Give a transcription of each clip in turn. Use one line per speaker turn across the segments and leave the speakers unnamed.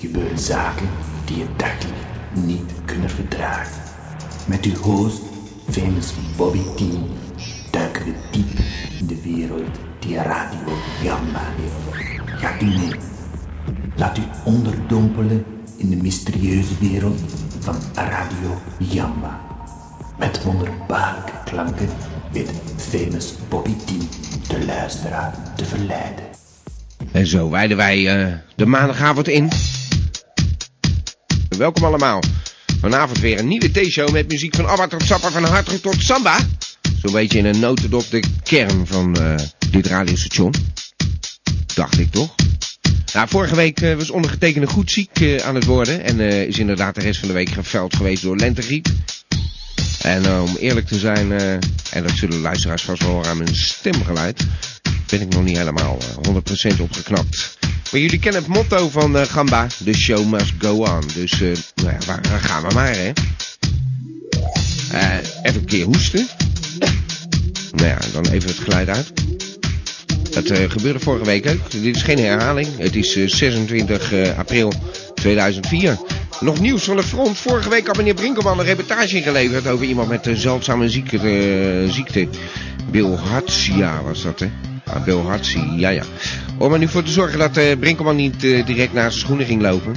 gebeuren zaken die je dagelijks niet kunnen verdragen. Met uw host, famous Bobby T, duiken we diep in de wereld die Radio Gamma heeft. Gaat u mee? Laat u onderdompelen in de mysterieuze wereld van Radio Jamba. Met wonderbaarlijke klanken weet famous Bobby T de luisteraar te verleiden.
En zo wijden wij eh, de maandagavond in. Welkom allemaal. Vanavond weer een nieuwe T-show met muziek van Abba tot Sappa, van Hartrug tot Samba. Zo'n beetje in een notendop de kern van eh, dit radiostation. Dacht ik toch? Nou, vorige week eh, was ondergetekende goed ziek eh, aan het worden. En eh, is inderdaad de rest van de week geveld geweest door lentegriep. En eh, om eerlijk te zijn, eh, en dat zullen luisteraars vast wel horen aan mijn stemgeluid, ben ik nog niet helemaal eh, 100% opgeknapt. Maar jullie kennen het motto van eh, Gamba, the show must go on. Dus eh, nou ja, waar, waar gaan we maar, hè? Eh, even een keer hoesten. Nou ja, dan even het geluid uit. Dat eh, gebeurde vorige week ook. Dit is geen herhaling. Het is eh, 26 eh, april 2004. Nog nieuws van het front. Vorige week had meneer Brinkelman een reportage ingeleverd over iemand met een zeldzame ziekte. eh, ziekte. Bilhartia was dat, hè? Ah, Bilhartia, ja, ja. Om er nu voor te zorgen dat eh, Brinkelman niet eh, direct naar zijn schoenen ging lopen.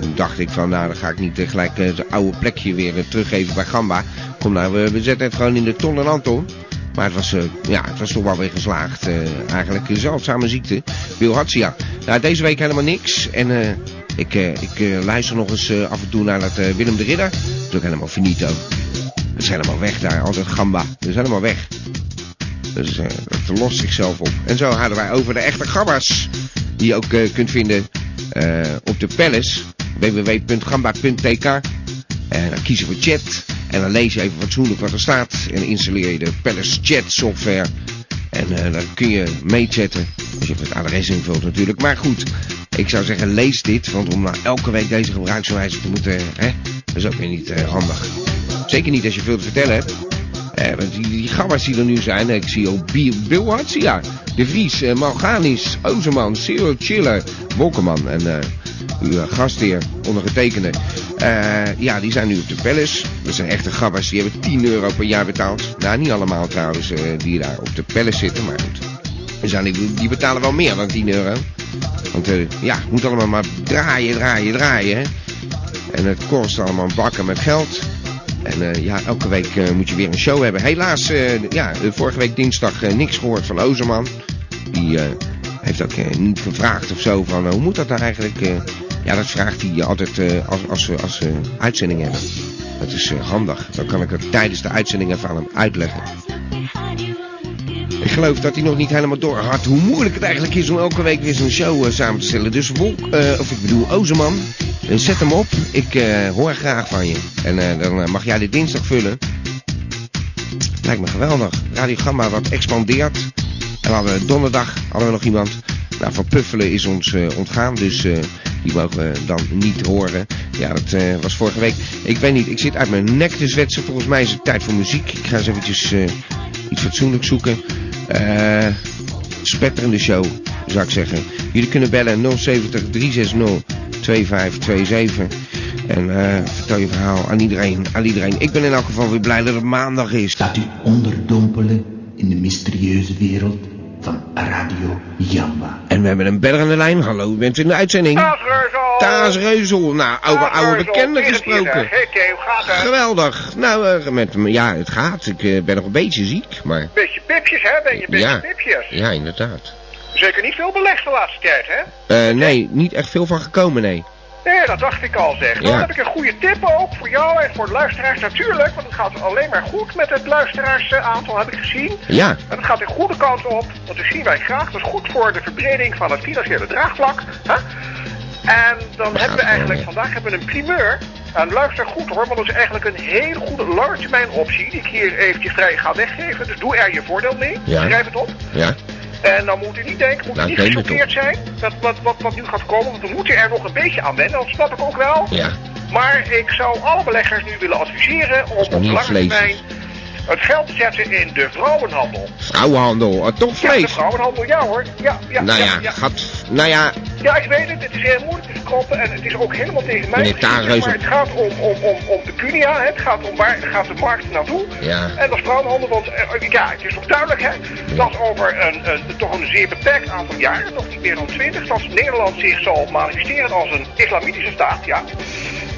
Toen dacht ik van, nou, dan ga ik niet eh, gelijk eh, zijn oude plekje weer eh, teruggeven bij Gamba. Kom nou, we, we zetten het gewoon in de ton en Anton. Maar het was, eh, ja, het was toch wel weer geslaagd. eh, eigenlijk een zeldzame ziekte. Bilhartia. Nou, deze week helemaal niks. En eh, ik, eh, ik eh, luister nog eens eh, af en toe naar dat eh, Willem de Ridder. Dat is ook helemaal finito. Dat is helemaal weg daar. Al dat gamba. Dat is helemaal weg. Dus eh, dat lost zichzelf op. En zo hadden wij over de echte gambas. Die je ook eh, kunt vinden eh, op de palace. www.gamba.tk En dan kies je voor chat. En dan lees je even fatsoenlijk wat er staat. En installeer je de palace chat software. En eh, dan kun je meechatten. Als je het adres invult natuurlijk. Maar goed, ik zou zeggen lees dit. Want om nou elke week deze gebruikswijze te moeten... Hè, dat is ook weer niet eh, handig. Zeker niet als je veel te vertellen hebt. Eh, want die, die gabbers die er nu zijn, ik zie ook Bill, Bill Hatsia, De Vries, eh, Malganis, Ozerman, Cyril Chiller, Bokkerman en eh, uw eh, gastheer, ondergetekende. Eh, ja, die zijn nu op de Palace. Dat zijn echte gabbers, die hebben 10 euro per jaar betaald. Nou, niet allemaal trouwens, eh, die daar op de Palace zitten, maar goed. Er zijn die, die betalen wel meer dan 10 euro. Want eh, ja, het moet allemaal maar draaien, draaien, draaien. hè. En het kost allemaal bakken met geld. En eh, ja, elke week eh, moet je weer een show hebben. Helaas, eh, ja, eh, vorige week dinsdag eh, niks gehoord van Ozerman. Die eh, heeft ook eh, niet gevraagd of zo van eh, hoe moet dat nou eigenlijk? eh? ja, dat vraagt hij altijd eh, als, als, we, als we uitzending hebben. Dat is eh, handig. Dan kan ik het tijdens de uitzendingen van hem uitleggen. Ik geloof dat hij nog niet helemaal door had hoe moeilijk het eigenlijk is om elke week weer zo'n show eh, samen te stellen. Dus Wolk, eh, of ik bedoel Ozeman, eh, zet hem op. Ik eh, hoor graag van je. En eh, dan eh, mag jij dit dinsdag vullen. Lijkt me geweldig. Radio Gamma wat expandeert. En we hadden donderdag hadden we nog iemand. Nou, van Puffelen is ons eh, ontgaan, dus eh, die mogen we dan niet horen. Ja, dat eh, was vorige week. Ik weet niet, ik zit uit mijn nek te zwetsen. Volgens mij is het tijd voor muziek. Ik ga eens eventjes eh, iets fatsoenlijks zoeken. Eh spetterende show, zou ik zeggen. Jullie kunnen bellen 070 360 2527. En eh, vertel je verhaal aan iedereen, aan iedereen. Ik ben in elk geval weer blij dat het maandag is.
Laat u onderdompelen in de mysterieuze wereld van Radio Jamba.
En we hebben een beller aan de lijn. Hallo, u bent in de uitzending.
Taasreuzel!
Taas Reuzel. Nou, over oude bekenden gesproken.
Hé, hoe gaat het?
Geweldig. Nou, eh, met, ja, het gaat. Ik eh, ben nog een beetje ziek, maar...
Beetje pipjes, hè? Ben je beetje
ja,
pipjes?
ja, inderdaad.
Zeker niet veel belegd de laatste tijd, hè?
Eh, nee, niet echt veel van gekomen, nee.
Nee, dat dacht ik al, zeg.
Ja.
Dan heb ik een goede tip ook voor jou en voor de luisteraars natuurlijk. Want het gaat alleen maar goed met het luisteraarsaantal, heb ik gezien.
Ja,
En het gaat de goede kant op, want dat zien wij graag. Dat is goed voor de verbreding van het financiële draagvlak. Hè? En dan hebben we
het
eigenlijk,
wel,
vandaag hebben we een primeur. En luister goed hoor, want dat is eigenlijk een hele goede lange termijn optie. Die ik hier eventjes vrij ga weggeven. Dus doe er je voordeel mee.
Ja.
Schrijf het op.
ja.
En dan moet u niet denken, moet u
Nou,
niet
ik neem het
gechoqueerd zijn. Dat wat, wat, wat nu gaat komen, want we moeten er nog een beetje aan wennen. Dat snap ik ook wel.
Ja.
Maar ik zou alle beleggers nu willen adviseren om
is
op
nog niet
lange
vlees.
termijn het geld te zetten in de vrouwenhandel.
Vrouwenhandel. Ah, toch
Ja, de
vlees.
vrouwenhandel, ja hoor. Ja, ja,
Nou ja,
ja.
gat... Nou ja,
Ja, ik weet het. Het is heel moeilijk te verkroppen en het is ook helemaal tegen mij.
Meneer
gezien,
Tarenreuzen.
Maar het gaat om, om, om, om pecunia, hè. het gaat om waar gaat de markt naartoe.
Ja.
En dat is trouwhandel, want eh, ja, het is ook duidelijk hè, dat over een, een, toch een zeer beperkt aantal jaren, nog niet meer dan twintig, dat Nederland zich zal manifesteren als een islamitische staat, ja.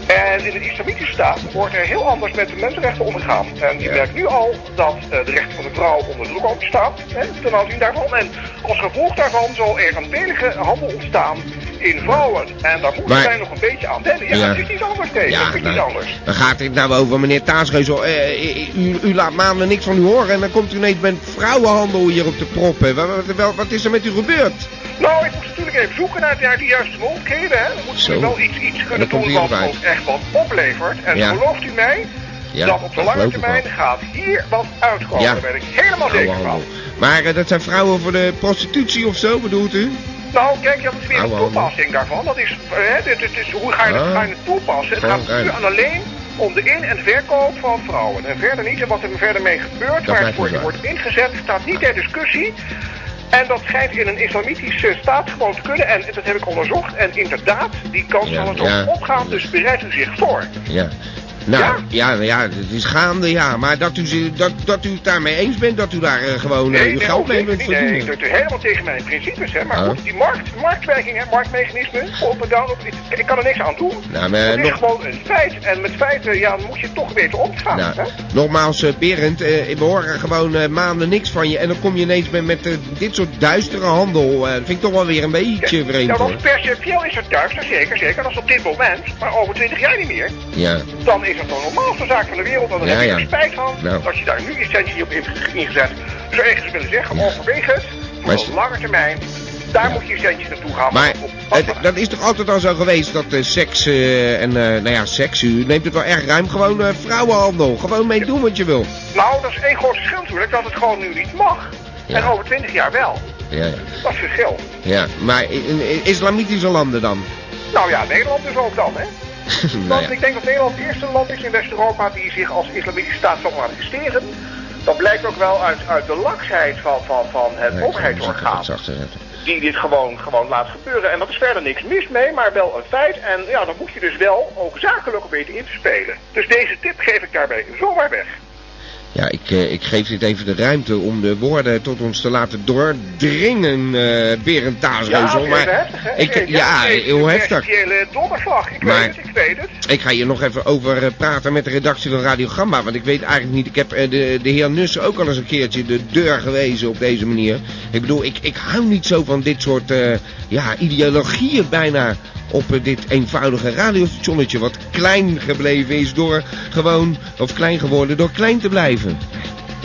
En in een islamitische staat wordt er heel anders met de mensenrechten omgegaan. En je merkt nu al dat eh, de rechten van de vrouw onder druk ook staat hè, ten aanzien daarvan. En als gevolg daarvan zal er een delige handel ontstaan in vrouwen. En daar moeten
Maar-
wij nog een beetje aan wennen. Ja,
Ja.
het is niet anders tegen. het is niet
nou,
anders.
dan gaat dit nou over, meneer Taasgeuzel. Eh, eh, u, u laat maanden niks van u horen en dan komt u ineens met vrouwenhandel hier op de proppen. Wat, wat, wel- wat is er met u gebeurd?
Nou, ik moest natuurlijk even zoeken naar, naar de juiste mogelijkheden. Hè. We moeten
Zo.
wel iets, iets
En dan
kunnen
komt
doen
hier
wat
wat uit.
ook echt wat oplevert. En
Ja.
gelooft u mij
Ja,
dat op de
dat
lange
geloof ik
termijn
wel.
gaat hier wat uitkomen.
Ja.
Daar ben ik helemaal zeker van.
Vrouwenhandel. Maar eh, dat zijn vrouwen voor de prostitutie of zo, bedoelt u?
Nou, kijk, dat is weer een
Oude handel.
toepassing daarvan. Dat is, hè, dit, dit is, hoe ga je, het,
Ah.
ga je het toepassen? Het gaat
Oké.
nu en alleen om de in- en verkoop van vrouwen. En verder niet en wat er verder mee gebeurt, waar
lijkt
het
me
voor
zo.
wordt ingezet, staat niet ter discussie. En dat schijnt in een islamitische staat gewoon te kunnen. En dat heb ik onderzocht. En inderdaad, die kans
Ja,
zal het
ja.
ook opgaan. Dus bereidt u zich voor.
Ja. Nou, ja, ja, het is gaande, ja. Maar dat u, ze- dat, dat u het daarmee eens bent, dat u daar eh, gewoon eh, uw geld
ook
mee
niet.
bent
nee, nee,
verdienen.
dat is helemaal tegen mijn principes, hè. Maar
Oh.
goed, die markt, marktwerking, hè, marktmechanismen, op en down, op, ik, ik kan er niks aan doen.
Nou, maar
Het is
nog-
gewoon een feit. En met feiten, ja, moet je toch weten om te gaan,
Nou,
hè.
nogmaals, eh, Berend, eh, we horen gewoon eh, maanden niks van je. En dan kom je ineens met, met eh, dit soort duistere handel. eh, dat vind ik toch wel weer een beetje vreemd,
Nou,
hoor.
dat perceptueel is het duister, zeker, zeker. Dat is op dit moment, maar over twintig jaar niet meer.
Ja,
Dan is het de normaalste zaak van de wereld. En dan
Ja,
heb je
ja.
er spijt van
Nou.
dat je daar nu je centje op hebt ingezet. Zo ergens willen zeggen, overweeg het.
Maar
Voor
is-
de lange termijn, daar moet je je centje naartoe gaan.
maar
Op-
het, dat is toch altijd al zo geweest dat eh, seks eh, en, eh, nou ja, seks, u neemt het wel erg ruim. Gewoon eh, vrouwenhandel, gewoon mee doen wat je wil.
Nou, dat is één groot verschil natuurlijk, dat het gewoon nu niet mag.
Ja.
En over twintig jaar wel.
Ja, ja.
Dat is het verschil.
ja. maar in, in islamitische landen dan?
Nou ja, Nederland dus ook dan, hè? Want
nou ja.
ik denk dat Nederland het eerste land is in West-Europa die zich als islamitische staat zal manifesteren. Dat blijkt ook wel uit, uit de laksheid van, van, van het
Nee, ik zal hem
overheidsorgaan.
zachter- zachter zetten.
Die dit gewoon, gewoon laat gebeuren. En dat is verder niks mis mee, maar wel een feit. En ja, dan moet je dus wel ook zakelijk weten in te spelen. Dus deze tip geef ik daarbij zomaar weg.
Ja, ik, eh, ik geef dit even de ruimte om de woorden tot ons te laten doordringen, eh Berend Taasreuzel.
weer
maar
heftig, hè?
ik,
Zeker.
ja,
Deze
heel heftig.
principiële donderslag. Ik
Maar-
weet het, ik weet het.
Ik ga hier nog even over eh, praten met de redactie van Radio Gamma. Want ik weet eigenlijk niet. Ik heb eh, de, de heer Nussen ook al eens een keertje de deur gewezen op deze manier. Ik bedoel, ik, ik hou niet zo van dit soort eh, ja, ideologieën bijna. Op eh, dit eenvoudige radiostationnetje. Wat klein gebleven is door gewoon. Of klein geworden door klein te blijven.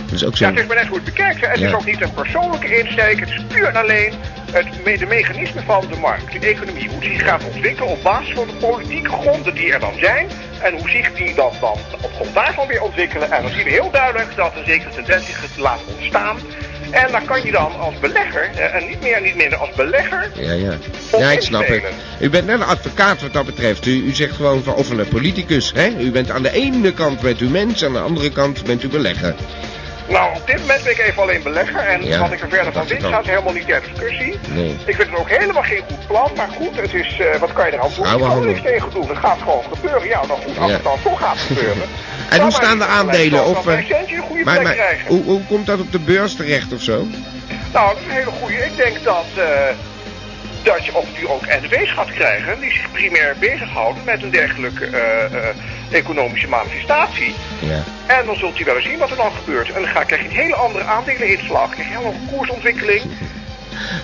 Dat is ook zo.
Ja, het is maar net goed bekijkt. hè. Het
Ja.
is ook niet een persoonlijke insteek. Het is puur en alleen het, me- de mechanisme van de markt. De economie, hoe zich gaat ontwikkelen op basis van de politieke gronden die er dan zijn. En hoe zich die dan, dan op grond daarvan weer ontwikkelen. En dan zien we heel duidelijk dat een zekere tendens zich laat ontstaan. En dan kan je dan als belegger, eh, en niet meer en niet minder als belegger,
Ja, ja. Ja, ik snap het. U bent net een advocaat wat dat betreft. U, u zegt gewoon van, of een politicus, hè? U bent aan de ene kant bent u mens, aan de andere kant bent u belegger.
Nou, op dit moment ben ik even alleen belegger. En
Ja,
wat ik er verder
dat
van
dacht ik
vind,
ook.
staat helemaal niet ter discussie.
Nee.
Ik vind het ook helemaal geen goed plan. Maar goed, het is, eh, wat kan je eraan doen? Ik kan er
Vrouwenhandel.
niks tegen doen. Het gaat gewoon gebeuren. Ja, dan goed, als
Ja.
het dan toch gaat gebeuren.
En
dan
hoe
maar
staan de
niet gelijk
aandelen?
dat-
Of,
dat wij
eh,
centje een goede
maar,
plek
maar
krijgen.
hoe, hoe komt dat op de beurs terecht of zo?
Nou, dat is een hele goede. Ik denk dat, eh, dat je ook nu ook NW's gaat krijgen die zich primair bezighouden met een dergelijke eh, eh, economische manifestatie.
Ja.
En dan zult u wel eens zien wat er dan gebeurt. En dan ga, krijg je een hele andere aandeleninslag, krijg je een hele andere koersontwikkeling.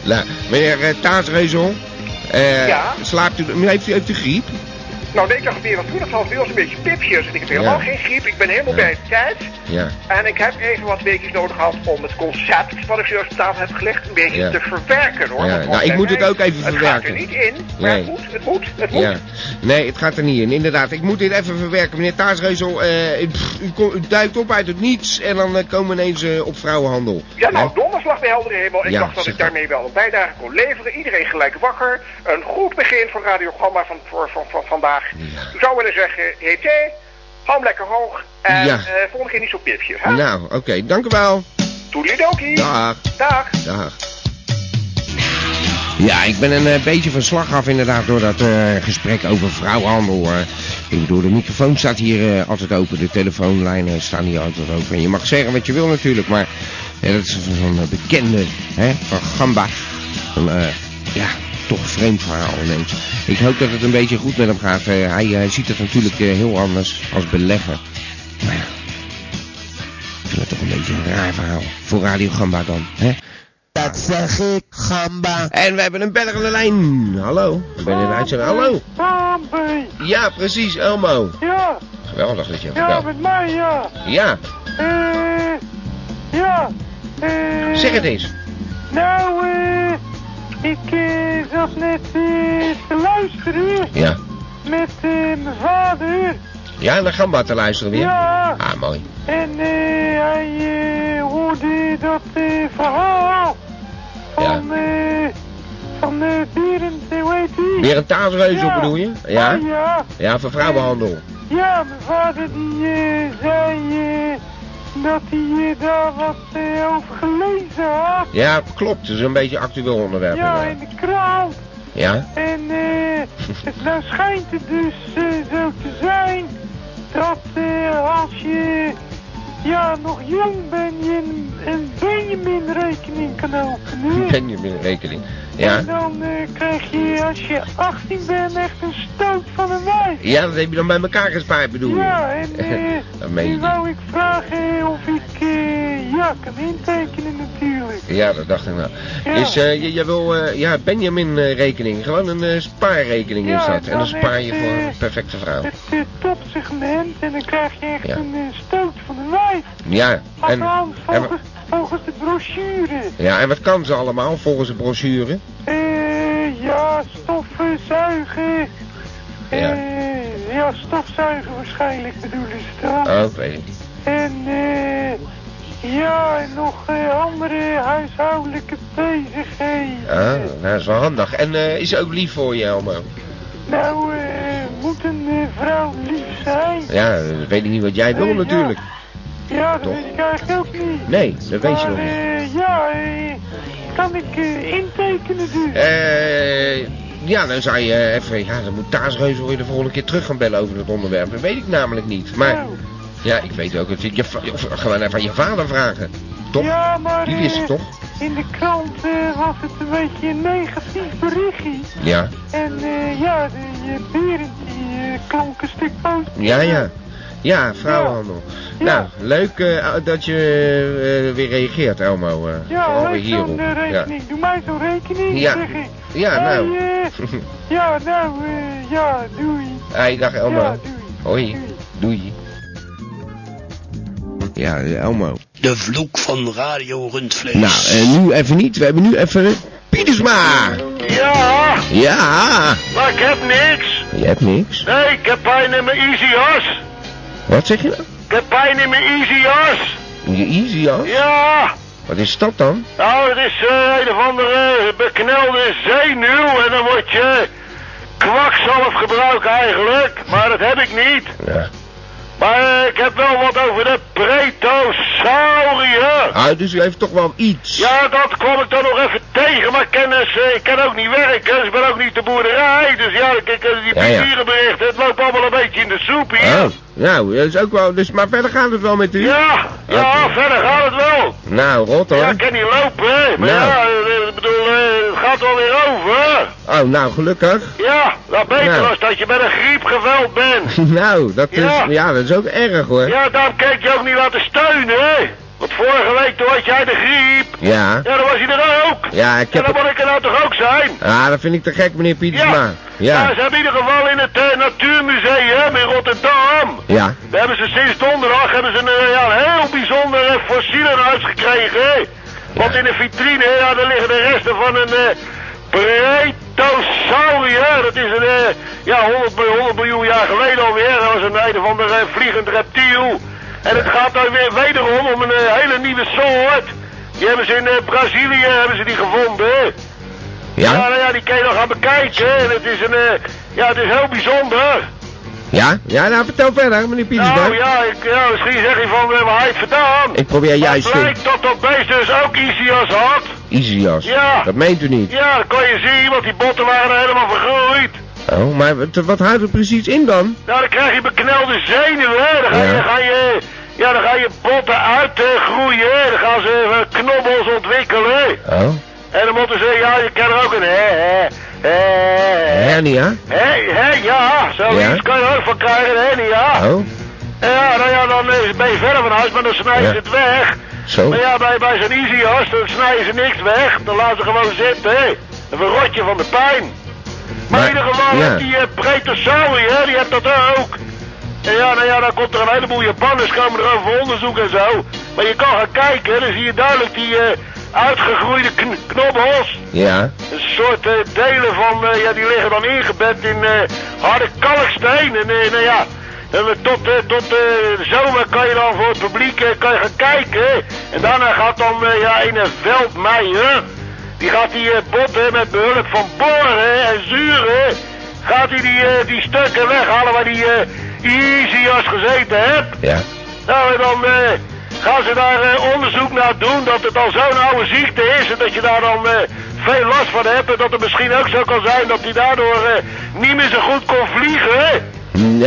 Nou, meneer eh, Taasreuzel, eh,
Ja?
slaapt u, heeft, u, heeft u griep?
Nou, nee, ik dacht weer, wat doe dat dan? Bij ons een beetje pipjes. En ik heb helemaal
Ja.
geen griep. Ik ben helemaal
Ja.
bij het tijd.
Ja.
En ik heb even wat weekjes nodig gehad om het concept wat ik zojuist op tafel heb gelegd een beetje
Ja.
te verwerken hoor.
Ja,
Want
nou, ik
bij
moet het
mij,
ook even
Het gaat
verwerken.
er niet in, maar
Nee.
het moet, het moet, het moet.
Ja. Nee, het gaat er niet in. Inderdaad, ik moet dit even verwerken. Meneer Taasreuzel, eh, pff, u, kom- u duikt op uit het niets en dan eh, komen we ineens eh, op vrouwenhandel.
Ja, nou,
Hè?
donderslag bij helder hemel. Ik
Ja,
dacht dat
zeg
ik daarmee wel een bijdrage kon leveren. Iedereen gelijk wakker. Een goed begin voor radiogramma van, voor, van, van vandaag. Ik zou willen zeggen, hé, hé, hou hem lekker hoog. En
Ja.
eh volgende keer niet zo'n pipje. Hè?
Nou, oké, dank u wel.
Toedeledokie.
Dag,
Dag.
dag. Ja, ik ben een eh, beetje van slag af inderdaad door dat eh, gesprek over vrouwenhandel. eh. ik bedoel, de microfoon staat hier eh, altijd open, de telefoonlijnen staan hier altijd open. En je mag zeggen wat je wil natuurlijk, maar ja, dat is van zo'n eh, bekende hè, van Gamba. Van, eh, ja, toch een vreemd verhaal ineens. Ik hoop dat het een beetje goed met hem gaat. Eh, hij eh, ziet het natuurlijk eh, heel anders als belegger. Maar ja, ik vind het toch een beetje een raar verhaal. Voor Radio Gamba dan, hè?
Dat zeg ik, gamba.
En we hebben een beller aan de lijn. Hallo. Ik ben in de uitzending. Hallo.
Bambi.
Ja, precies, Elmo.
Ja,
Geweldig dat je hebt
ja,
gebeld.
met mij, ja.
Ja,
Eh,
э,
ja. Eh,
zeg het eens.
Nou, eh, ik eh, zat net eh, te luisteren
Ja.
met eh, mijn vader.
Ja, naar Gamba te luisteren weer.
Ja.
Ah, mooi.
En eh, hij eh, hoorde dat eh, verhaal van, eh, van eh Berend, eh, hoe heet die?
Weer een taalsreuzel
Ja.
bedoel je?
Ah,
Ja.
ja.
Ja, voor vrouwenhandel.
Ja, mijn vader die eh, zei eh, dat hij eh, daar wat eh, over gelezen had.
Ja, klopt. Het is een beetje een actueel onderwerp.
Ja, in
inderdaad.
de krant.
Ja?
En eh, het nou schijnt het dus eh, zo te zijn dat eh, als je ja, nog jong bent, je een, een Benjamin-rekening kan openen.
Ben je in rekening?
En
Ja.
dan eh, krijg je als je 18 bent echt een stoot van een wijf.
Ja, dat heb je dan bij elkaar gespaard bedoel je?
Ja, en eh,
dat meen je
nu
niet.
wou ik vragen of ik eh, ja, kan intekenen natuurlijk.
Ja, dat dacht ik nou.
Ja.
Is, eh, je, je wil, eh, ja, Benjamin-rekening. Gewoon een eh, spaarrekening
Ja,
is dat.
en
En dan
dan
spaar je
echt,
voor
eh,
een perfecte vrouw.
Het eh, topsegment en dan krijg je echt
Ja.
een eh, stoot van een wijf.
Ja, en,
Althans,
en,
volgens, volgens de brochure.
ja, en wat kan ze allemaal volgens de brochure?
Eh, ja, stoffen, zuigen.
Ja.
Eh, ja, stofzuigen waarschijnlijk bedoelen ze dan.
Oh, ik weet het niet.
En eh, ja, en nog eh, andere huishoudelijke bezigheden.
Ah, nou, dat is wel handig. En eh, is ze ook lief voor je, Elmo?
Nou, eh, moet een eh, vrouw lief zijn?
Ja, dat weet ik niet wat jij wil
Nee, ja.
natuurlijk.
Ja, dat
Toch?
weet ik eigenlijk ook niet.
Nee, dat weet je
Maar,
nog niet.
eh, ja, eh, kan ik eh, intekenen dus?
Eh, ja, dan zou je eh, even... Ja, dan moet Taasreuze voor je de volgende keer terug gaan bellen over het onderwerp. Dat weet ik namelijk niet. Maar
Nou,
ja, ik weet ook. het- Je, va- je, gewoon even aan je vader vragen. Toch?
Ja, maar
Die wist het
eh,
toch?
in de krant eh, was het een beetje een negatief berichtje.
Ja.
En eh, ja, de eh, Berend die eh, klonk een stuk boos.
Ja, ja. Ja, vrouwenhandel.
Ja.
Nou, leuk eh, dat je eh, weer reageert, Elmo. eh,
Ja,
vooral weer
leuk zo'n
hierop.
eh,
ja.
rekening. Doe mij zo'n rekening,
Ja.
zeg ik.
ja,
Hey,
nou.
eh, ja, nou, eh, ja, doei.
Hey, dag Elmo.
Ja, doei.
Hoi.
Doei.
Doei. Ja, eh, Elmo.
De vloek van Radio Rundvlees.
Nou, eh, nu even niet. We hebben nu even... Pietersma!
Ja,
Ja!
maar ik heb niks.
Je hebt niks.
Nee, ik heb pijn in mijn easy as.
Wat zeg je nou?
Ik heb pijn in mijn easy as.
Je easy, ja?
Ja,
Wat is dat dan?
nou, het is eh, een of andere beknelde zenuw en dan word je kwakzalf gebruiken eigenlijk. Maar dat heb ik niet.
Ja.
Maar eh, ik heb wel wat over de pretosaurier.
Ah, dus u heeft toch wel iets.
Ja, dat kwam ik dan nog even tegen, maar kennis, eh, ik kan ook niet werken, dus ik ben ook niet de boerderij. Dus ja, ik ik- die
Ja, ja.
plezierenberichten, het loopt allemaal een beetje in de soep hier.
Oh, nou, dat is ook wel... Dus, maar verder gaat het wel met u?
Ja, ja,
Oké.
verder gaat het wel.
Nou, rot hoor.
Ja, ik kan niet lopen, hè. Maar
Nou.
ja, eh, ik bedoel, eh, het gaat wel weer over.
Oh, nou, gelukkig.
Ja, dat beter
Nou.
als dat je met een griep geveld bent.
nou, dat is,
Ja.
ja. dat is ook erg hoor. Ja.
Ja, daarom kijk je ook niet laten steunen, hè. Want vorige week toen had jij de griep.
Ja,
Ja, dan was hij er ook.
ik
En
heb...
dan moet ik er nou toch ook zijn?
Ah, dat vind ik te gek, meneer Pietersma.
Nou,
Ja.
ze hebben in ieder geval in het eh, Natuurmuseum in Rotterdam.
Ja.
Daar hebben ze sinds donderdag hebben ze een, eh, ja, een heel bijzonder eh, fossiel in huis gekregen. hè. Want in de vitrine, ja, daar liggen de resten van een eh Bretosaurier. Dat is een, eh, ja, 100, bij 100 miljoen jaar geleden alweer. Dat was een een van een vliegend reptiel. En het gaat dan weer wederom om een eh, hele nieuwe soort. Die hebben ze in eh, Brazilië hebben ze die gevonden. hè.
Ja.
Ja, nou ja, die kan je nog gaan bekijken. hè. Het is, een, eh, ja, het is heel bijzonder.
Ja? Ja, nou vertel verder, meneer Pietersberg.
Nou ja, ik, ja, misschien zeg je van eh, waar hij het vandaan.
Ik probeer juist
Maar blijkt dat dat beest dus ook Isias had.
Isias.
Ja.
Dat meent u niet.
Ja, dat kon je zien, want die botten waren er helemaal vergroeid.
Oh, maar wat, wat houdt het precies in dan?
Nou, dan krijg je beknelde zenuwen, hè. Dan ga je,
Ja.
dan ga je, ja, dan ga je botten uitgroeien, hè. Dan gaan ze eh, knobbels ontwikkelen.
Oh.
En dan moeten ze, ja, je kan er ook een hè, hè, hè, hè.
Hernia?
Hé, hé, ja, zoiets
Ja.
kan je er ook van krijgen, hè, ja.
Oh.
Ja, nou ja, dan eh, ben je verder van huis, maar dan snijden
Ja.
ze het weg.
Zo.
Maar ja, bij, bij zo'n easy house, dan snijden ze niks weg. Dan laten ze gewoon zitten, hè. Dan verrot je van de pijn. Maar,
Maar-
in ieder geval,
ja.
heeft die uh, hè, die hebt dat ook. En ja, nou ja, dan komt er een heleboel Japanners komen erover voor onderzoek en zo. Maar je kan gaan kijken, dan zie je duidelijk die eh, uitgegroeide kn knobbels.
Ja.
Een soort eh, delen van, eh, ja, die liggen dan ingebed in eh, harde kalksteen. En eh, nou ja, en, we tot, eh, tot eh, de zomer kan je dan voor het publiek eh, kan je gaan kijken. En daarna gaat dan, eh, ja, een veldmeijer, die gaat die eh, botten met behulp van boren en zuren, gaat hij die, eh, die stukken weghalen waar die eh easy als gezeten hebt.
Ja.
Nou, en dan eh, gaan ze daar eh, onderzoek naar doen dat het al zo'n oude ziekte is en dat je daar dan eh, veel last van hebt. En dat het misschien ook zo kan zijn dat hij daardoor eh, niet meer zo goed kon vliegen. Hè?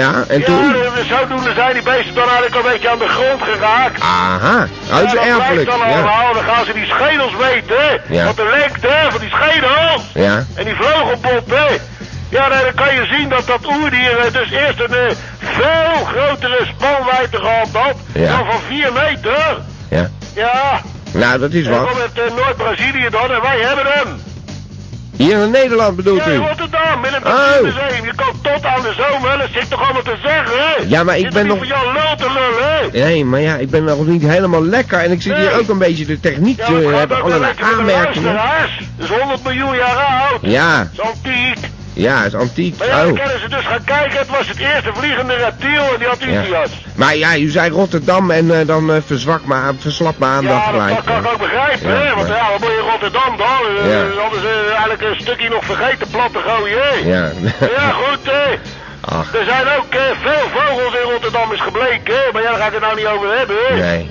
Ja, en
ja,
toen?
eh, zodoende zijn die beesten dan eigenlijk een beetje aan de grond geraakt.
Aha. Oh, is
Ja, dat blijkt
erfelijk.
dan
Ja.
allemaal. Dan gaan ze die schedels weten.
Ja.
Wat de lengte van die schedel.
Ja.
En die vleugelbot, hè. Ja, nee, dan kan je zien dat dat oerdier eh, dus eerst een eh, veel grotere spanwijdte gehad had.
Ja.
Dan van 4 meter.
Ja.
Ja.
Nou, dat is
En dan
wat.
komt eh, Noord-Brazilië dan en wij hebben hem.
Hier in Nederland bedoelt
Ja, in
u?
Rotterdam, in het
Oh.
Natuurmuseum. Je kan tot aan de zomer, dat zit toch allemaal te zeggen, hè?
Ja, maar ik
Zit
ben
er
nog-
niet van jou lul te lullen, hè?
Nee, maar ja, ik ben nog niet helemaal lekker en ik zit hier
Nee.
ook een beetje de techniek
Ja,
te
maar het gaat
hebben,
ook wel
allerlei
lekker met de
aanmerkingen.
luisteraars. Dat is 100 miljoen jaar oud.
Ja,
Dat is antiek.
ja, is antiek.
Maar ja, dan
Oh.
kunnen ze dus gaan kijken. Het was het eerste vliegende reptiel en die had
Ja.
Isias.
Maar ja, u zei Rotterdam en eh, dan eh, verzwak maar, verslap mijn aandacht
Ja, dat,
gelijk.
dat kan ik ook begrijpen,
Ja,
hè? Want
ja.
ja, wat moet je in Rotterdam dan? Eh,
Ja.
Anders eh, eigenlijk een stukje nog vergeten plat te gooien, hè?
Ja.
Ja, goed, hè?
Ach,
Er zijn ook eh, veel vogels in Rotterdam is gebleken, hè? Maar ja, daar ga ik het nou niet over hebben, hè?
nee.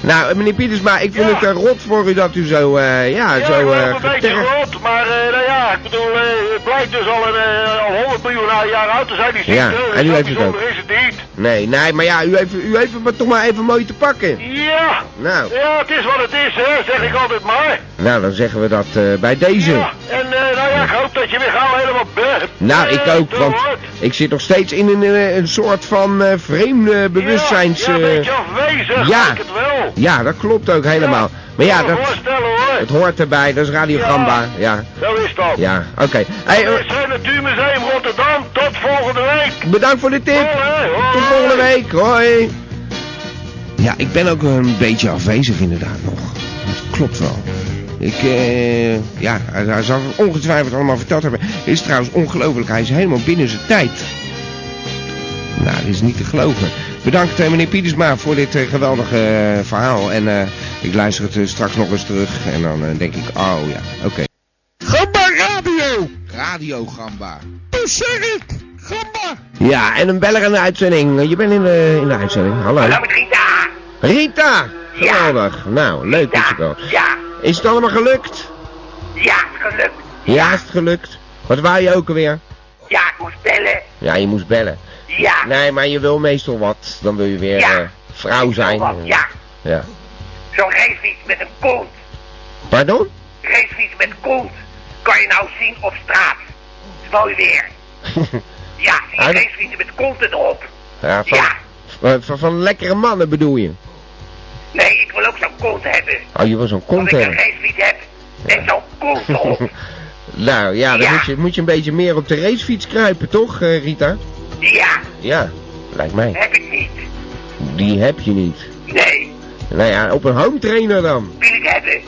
Nou, eh, meneer Pieters, maar ik vind
Ja.
het een rot voor u dat u zo, eh, ja,
Ja, ik
zo...
loop
eh,
een beetje
getergd-
rot, maar eh, nou ja, ik bedoel, eh, het blijkt dus al, een, eh, al 100 miljoen jaar oud te zijn, die ziekte.
Ja,
Dus
en u
zo
heeft het
bijzonder is het niet.
Nee, nee, maar ja, u heeft, u heeft het maar toch maar even mooi te pakken.
Ja,
Nou,
ja, het is wat het is, hè, zeg ik altijd maar.
nou, dan zeggen we dat eh, bij deze.
Ja, en eh, nou ja, ik hoop dat je weer gauw helemaal be-
Nou,
eh,
ik ook,
toe
want
wordt.
ik zit nog steeds in een, eh, een soort van eh vreemde bewustzijns...
Ja, ja, een
eh,
beetje afwezig,
ja.
ja. ik het wel.
ja, dat klopt ook helemaal. Maar ja,
Ik kan me
dat,
voorstellen hoor.
het hoort erbij, dat is Radio
Ja.
Gamba. Ja,
Zo is dat.
ja, oké. Hey,
Dit
eh,
is het Natuurmuseum Rotterdam. Tot volgende week.
bedankt voor de tip.
Hoi, hoi.
Tot volgende week. Hoi. Ja, ik ben ook een beetje afwezig inderdaad nog. Dat klopt wel. Ik, eh, ja, hij, hij zal het ongetwijfeld allemaal verteld hebben. Is trouwens ongelooflijk. Hij is helemaal binnen zijn tijd. Nou, dat is niet te geloven. Bedankt eh, meneer Pietersma voor dit eh, geweldige eh, verhaal. En eh, ik luister het eh, straks nog eens terug. En dan eh, denk ik, oh ja, oké.
Gamba Radio!
Radio Gamba.
Toen zeg ik! Gamba!
Ja, en een beller in de uitzending. Je bent in de, in de uitzending. Hallo.
Hallo met Rita.
Rita! Geweldig. Nou, leuk dat je
Ja,
belt.
ja,
Is het allemaal gelukt?
ja, gelukt.
Ja, is het gelukt. Wat wou je ook alweer?
Ja, ik moest bellen.
Ja, je moest bellen.
Ja.
Nee, maar je wil meestal wat. Dan wil je weer
Ja.
eh, vrouw zijn.
Wat, ja,
Ja.
zo'n racefiets met een kont.
Pardon?
Racefiets met kont. Kan je nou zien op straat. Is mooi weer. Ja, zie je
Ah, dat-
racefietsen met konten erop.
ja, van,
Ja.
Van, van, van lekkere mannen bedoel je?
Nee, ik wil ook zo'n kont hebben.
Oh, je wil zo'n
Als
kont
ik een
hebben.
racefiets heb, en zo'n kont erop.
nou ja, dan
Ja.
Moet, je, moet je een beetje meer op de racefiets kruipen, toch, eh, Rita?
Ja,
Ja, lijkt mij.
heb ik niet.
Die heb je niet.
Nee,
Nou ja, op een home trainer dan.
wil ik hebben.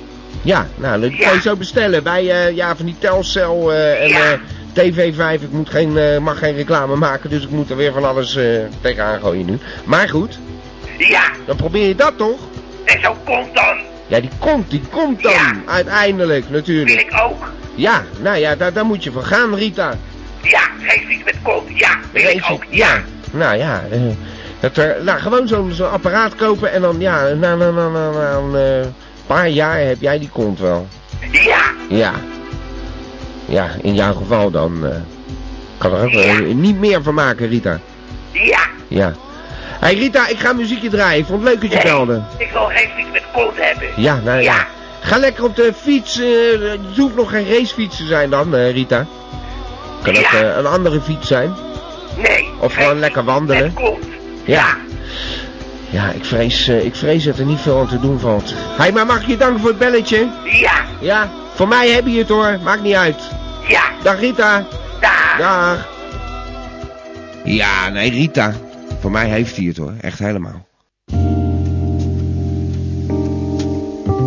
Ja, nou, dat
Ja.
kan je zo bestellen. Bij, eh, ja, van die Telcel eh, en
Ja.
eh, TV5. Ik moet geen, eh, mag geen reclame maken, dus ik moet er weer van alles eh, tegenaan gooien nu. Maar goed,
Ja,
dan probeer je dat toch?
en zo'n kont dan.
Ja, die komt, die komt dan.
Ja.
Uiteindelijk,
Wil
natuurlijk.
ik ook.
Ja, nou ja, daar, daar moet je voor gaan, Rita.
Ja, reefwiet met kool. Ja, weet ik ook.
ja. Nou ja, eh, dat er, nou, gewoon zo'n zo'n apparaat kopen en dan, ja, na, na, na, na, na een eh, paar jaar heb jij die kont wel.
Ja,
Ja. Ja, in jouw geval dan. eh kan er ook wel
Ja.
niet meer van maken, Rita.
ja.
Ja. Hé hey, Rita, ik ga een muziekje draaien. Ik vond het leuk dat je
Nee,
belde.
Ik wil reefwiet met kool hebben.
Ja, nou ja.
Ja.
Ga lekker op de fiets. eh, Je hoeft nog geen racefiets te zijn dan, eh, Rita. Kan ook
Ja.
eh, een andere fiets zijn.
Nee.
Of gewoon
reefwiet
lekker wandelen.
Met kool.
Ja. Ja, ik vrees, eh, ik vrees dat er niet veel aan te doen valt. Hé, hey, maar mag ik je danken voor het belletje?
Ja,
Ja. Voor mij heb je het hoor. Maakt niet uit.
ja.
Dag Rita.
Daar.
Dag. Ja, nee, Rita. Voor mij heeft hij het hoor. Echt helemaal.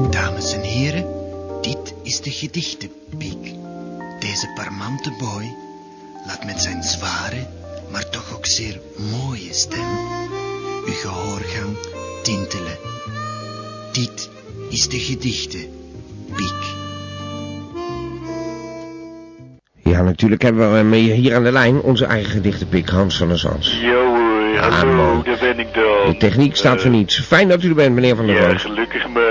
Dames en heren, dit is de gedichtenpiek. Deze parmante boy laat met zijn zware, maar toch ook zeer mooie stem uw gehoorgang tintelen. Dit is de gedichtenpiek.
Ja, natuurlijk hebben we eh, hier aan de lijn onze eigen gedichtenpik Hans van der Zans.
Yo, hoi,
Ah,
hallo,
man.
daar ben ik dan.
De techniek staat voor niets. Fijn dat u er bent, meneer Van der
Ja,
Roos.
gelukkig maar.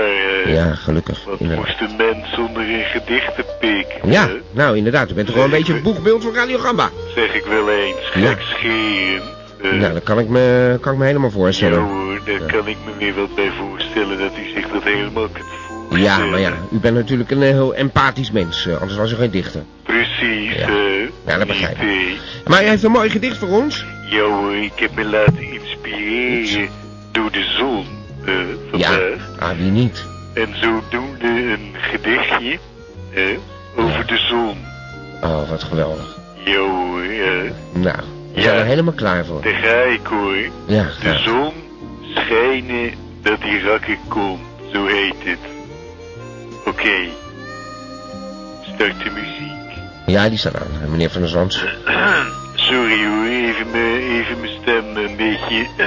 eh,
Ja, gelukkig.
Wat
inderdaad.
moest een mens zonder een gedichtenpik?
Ja,
eh,
nou inderdaad, u bent toch wel een beetje het boegbeeld van Radio Gamba.
zeg ik wel eens,
Ja.
gekscheren. Eh,
Nou, dat kan ik me, kan ik me helemaal
Ja
voorstellen.
hoor, daar kan ik me weer wat bij voorstellen dat u zich dat helemaal kunt voorstellen.
Ja, maar ja, u bent natuurlijk een eh, heel empathisch mens, eh, anders was u geen dichter.
Precies,
Ja.
eh.
Ja, dat
niet,
begrijp ik.
eh.
Maar u heeft een mooi gedicht voor ons.
Ja hoor, ik heb me laten inspireren door de zon eh,
Ja,
vandaag.
ah, wie niet?
En zodoende een gedichtje eh, over de zon.
Oh, wat geweldig.
Ja hoor, eh,
Nou, we
Ja.
zijn er helemaal klaar voor.
daar ga ik hoor.
Ja, nou.
De
graag.
zon schijnen dat die rakker komt, zo heet het. Oké, start de muziek.
ja die staat aan, eh, meneer Van der Zans.
Sorry hoor, even mijn, even mijn stem een beetje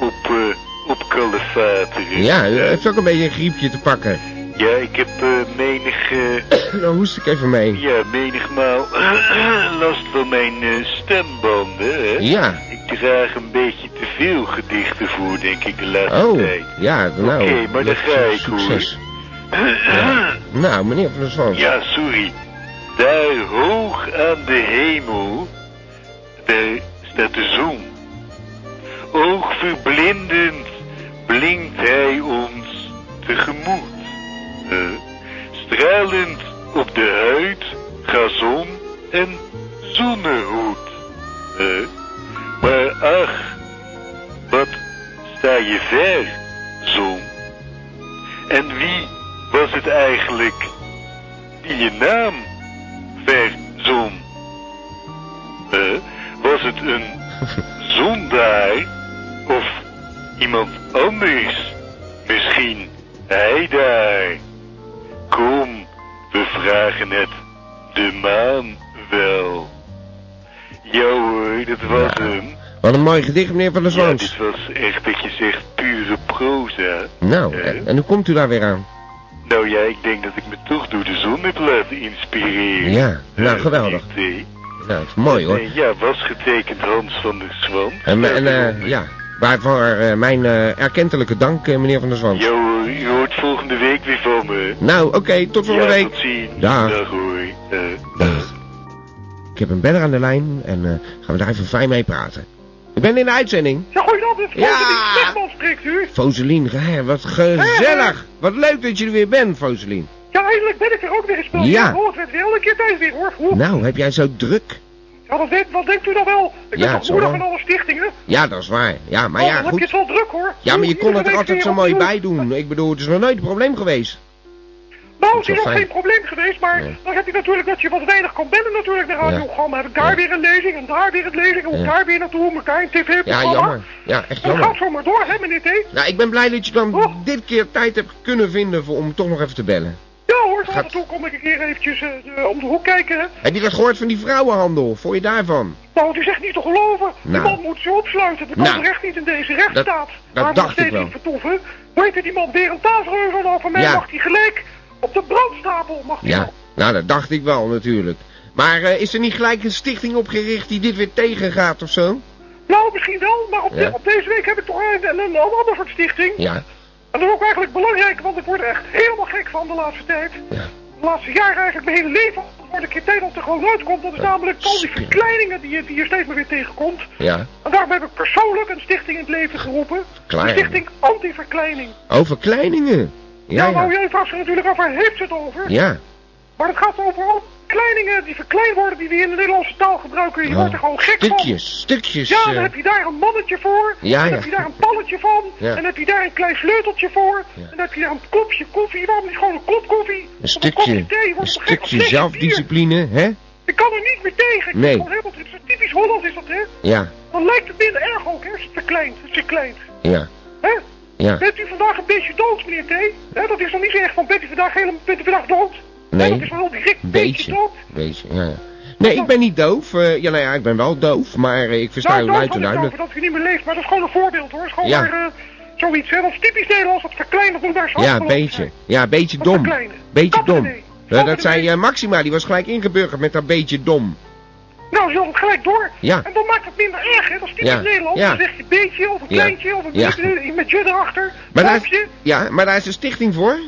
op, eh op kalefateren.
Ja, u heeft ook een beetje een griepje te pakken.
Ja, ik heb eh, menig, eh,
Dan hoest ik even mee.
ja, menigmaal last van mijn eh, stembanden. Hè?
Ja,
Ik draag een beetje te veel gedichten voor, denk ik, de laatste
oh,
tijd.
ja, nou.
Oké, maar dan ga ik, hoor.
Succes. Nou, meneer Van der Zans.
Ja, sorry. Daar hoog aan de hemel, daar staat de zon. Oogverblindend blinkt hij ons tegemoet. Eh, stralend op de huid, gazon en zonnehoed. Eh, maar ach, wat sta je ver, zon. En wie was het eigenlijk die je naam verzon? Eh, was het een zondaar of iemand anders? Misschien hij daar. Kom, we vragen het de maan wel. Ja hoor, dat was
Ja.
hem.
Wat een mooi gedicht, meneer Van der
eh, Ja,
Zans.
dit was echt dat je zegt pure proza.
Nou,
Eh?
en, en hoe komt u daar weer aan?
Nou ja, ik denk dat ik me toch door de zon heb laten inspireren.
Ja, nou,
Eh,
geweldig.
dit, eh,
Nou, het is mooi hoor.
eh, ja, was getekend Hans van der Zwan.
En, en eh,
Daaronder.
ja, waarvoor eh, mijn eh, erkentelijke dank, eh, meneer Van der Zwans.
Ja hoor, u hoort volgende week weer van me.
Nou, oké, tot volgende
ja,
week.
tot ziens.
Dag.
hoor. Eh,
Dag. Ik heb een beller aan de lijn en eh, gaan we daar even fijn mee praten. Ik ben in de uitzending.
Ja, goeiedag, dit is
Ja.
Volker Stegman spreekt u.
Foselien, hè, wat gezellig. Wat leuk dat je er weer bent, Foselien.
Ja, eindelijk ben ik er ook weer gespeeld.
Ja.
Ik hoor het wel een keer thuis weer, hoor. Oeh.
Nou, heb jij zo druk?
Ja, dat weet, wat denkt u dan wel? Ik
Ja,
ben toch
zo
moeder
wel.
van alle stichtingen?
Ja, dat is waar. Ja, maar
Oh,
ja,
dan heb je
goed.
het wel druk, hoor.
Ja, maar je
Oeh,
kon het
iedere
er
week
altijd
weer
zo mooi
opnieuw.
bij doen. Ik bedoel, het is nog nooit een probleem geweest.
Nou,
Dat is
het is
wel
ook
fijn.
geen probleem geweest, maar
Nee.
dan heb je natuurlijk dat je wat weinig kan bellen natuurlijk naar Radio
Ja.
Gamma. Heb ik daar
Ja.
weer een lezing en daar weer een lezing en
Ja.
daar weer naartoe, en daar een
Ja,
tv-programma.
jammer. Ja, echt
Dat gaat
jammer.
zo maar door, hè, meneer T?
Nou, ik ben blij dat je dan
Oh.
dit keer tijd hebt kunnen vinden voor, om toch nog even te bellen.
Ja hoor, zo af en
Gaat-
toe kom ik een keer eventjes eh, eh, om de hoek kijken, hè.
Heb je dat gehoord van die vrouwenhandel? Vond je daarvan?
Nou, het is echt niet te geloven. Die
Nou.
man moet ze opsluiten. Dat kan
Nou.
terecht niet in deze rechtsstaat.
Dat- dat
Waar we
dacht
nog steeds
ik wel.
niet vertoeven. Hoe heet het, die man Berend Taasreuver nou? Van mij
Ja.
mag hij gelijk op de brandstapel. Mag hij
Ja,
wel.
nou dat dacht ik wel natuurlijk. Maar eh, is er niet gelijk een stichting opgericht die dit weer tegengaat of zo?
Nou, misschien wel, maar op, de-
Ja.
op deze week heb ik toch een, een, een ander soort stichting.
Ja.
En dat is ook eigenlijk belangrijk, want ik word er echt helemaal gek van de laatste tijd. De laatste jaren eigenlijk mijn hele leven word ik in Nederland er gewoon uitkomt.
Oh,
Dat is namelijk al die verkleiningen die je, die je steeds maar weer tegenkomt.
Ja.
En daarom heb ik persoonlijk een stichting in het leven
Ah,
geroepen. De
Verkleining.
stichting Anti-Verkleining.
Over kleiningen. Ja,
nou, nou,
ja.
jij vraagt zich natuurlijk af, waar heeft het over?
Ja.
Maar het gaat over al die verkleiningen die verkleind worden die we in de Nederlandse taal gebruiken. Je wordt er gewoon gek van.
Stukjes, stukjes.
Ja,
eh,
dan heb je daar een mannetje voor.
Ja,
dan
ja.
heb je daar een palletje van.
Ja.
En dan heb je daar een klein sleuteltje voor. En dan heb je daar een kopje koffie. Waarom niet gewoon een kop koffie?
Een
of een
stukje,
kopje thee.
een
Wordt toch gek? Of
stukje
lekker
zelfdiscipline, hè?
bier. Ik kan er niet meer tegen. Ik
Nee.
ben gewoon helemaal, het is zo typisch Hollands is dat, hè?
Ja,
Dan lijkt het minder erg ook, hè? Het is verkleind. Het is verkleind.
ja,
Hè?
ja.
Bent u vandaag een beetje dood, meneer T? Hè, dat is nog niet zo erg van, bent u vandaag, helemaal, bent u vandaag dood? Hè,
Nee.
dat is wel heel direct. Een beetje
Beetje,
dood. Nou,
beetje, ja. ja. Nee, ik ben niet doof. eh, ja, nou ja, ik ben wel doof, maar eh, ik versta
Nou,
u
dood
luid en
had ik
duidelijk.
over dat u niet meer leeft, maar dat is gewoon een voorbeeld, hoor. Het is gewoon
Ja.
maar eh, zoiets, hè? Dat is typisch Nederlands, dat verkleind, dat moet daar zo
Ja,
afgelopen
beetje.
zijn.
Ja, beetje
Wat
dom.
verkleinen.
Beetje
Kappen
dom.
ermee.
Eh,
Kappen
dat zei eh, Maxima, die was gelijk ingeburgerd met dat beetje dom.
Nou, ze had het gelijk door.
Ja.
En dan maakt het minder erg, hè? Dat is typisch
Ja.
Nederlands.
Ja.
Dan zeg je beetje, of een
Ja.
kleintje, of een
Ja.
beetje, eh, met je erachter.
Maar
Duimpje.
daar, ja, maar daar is een stichting voor?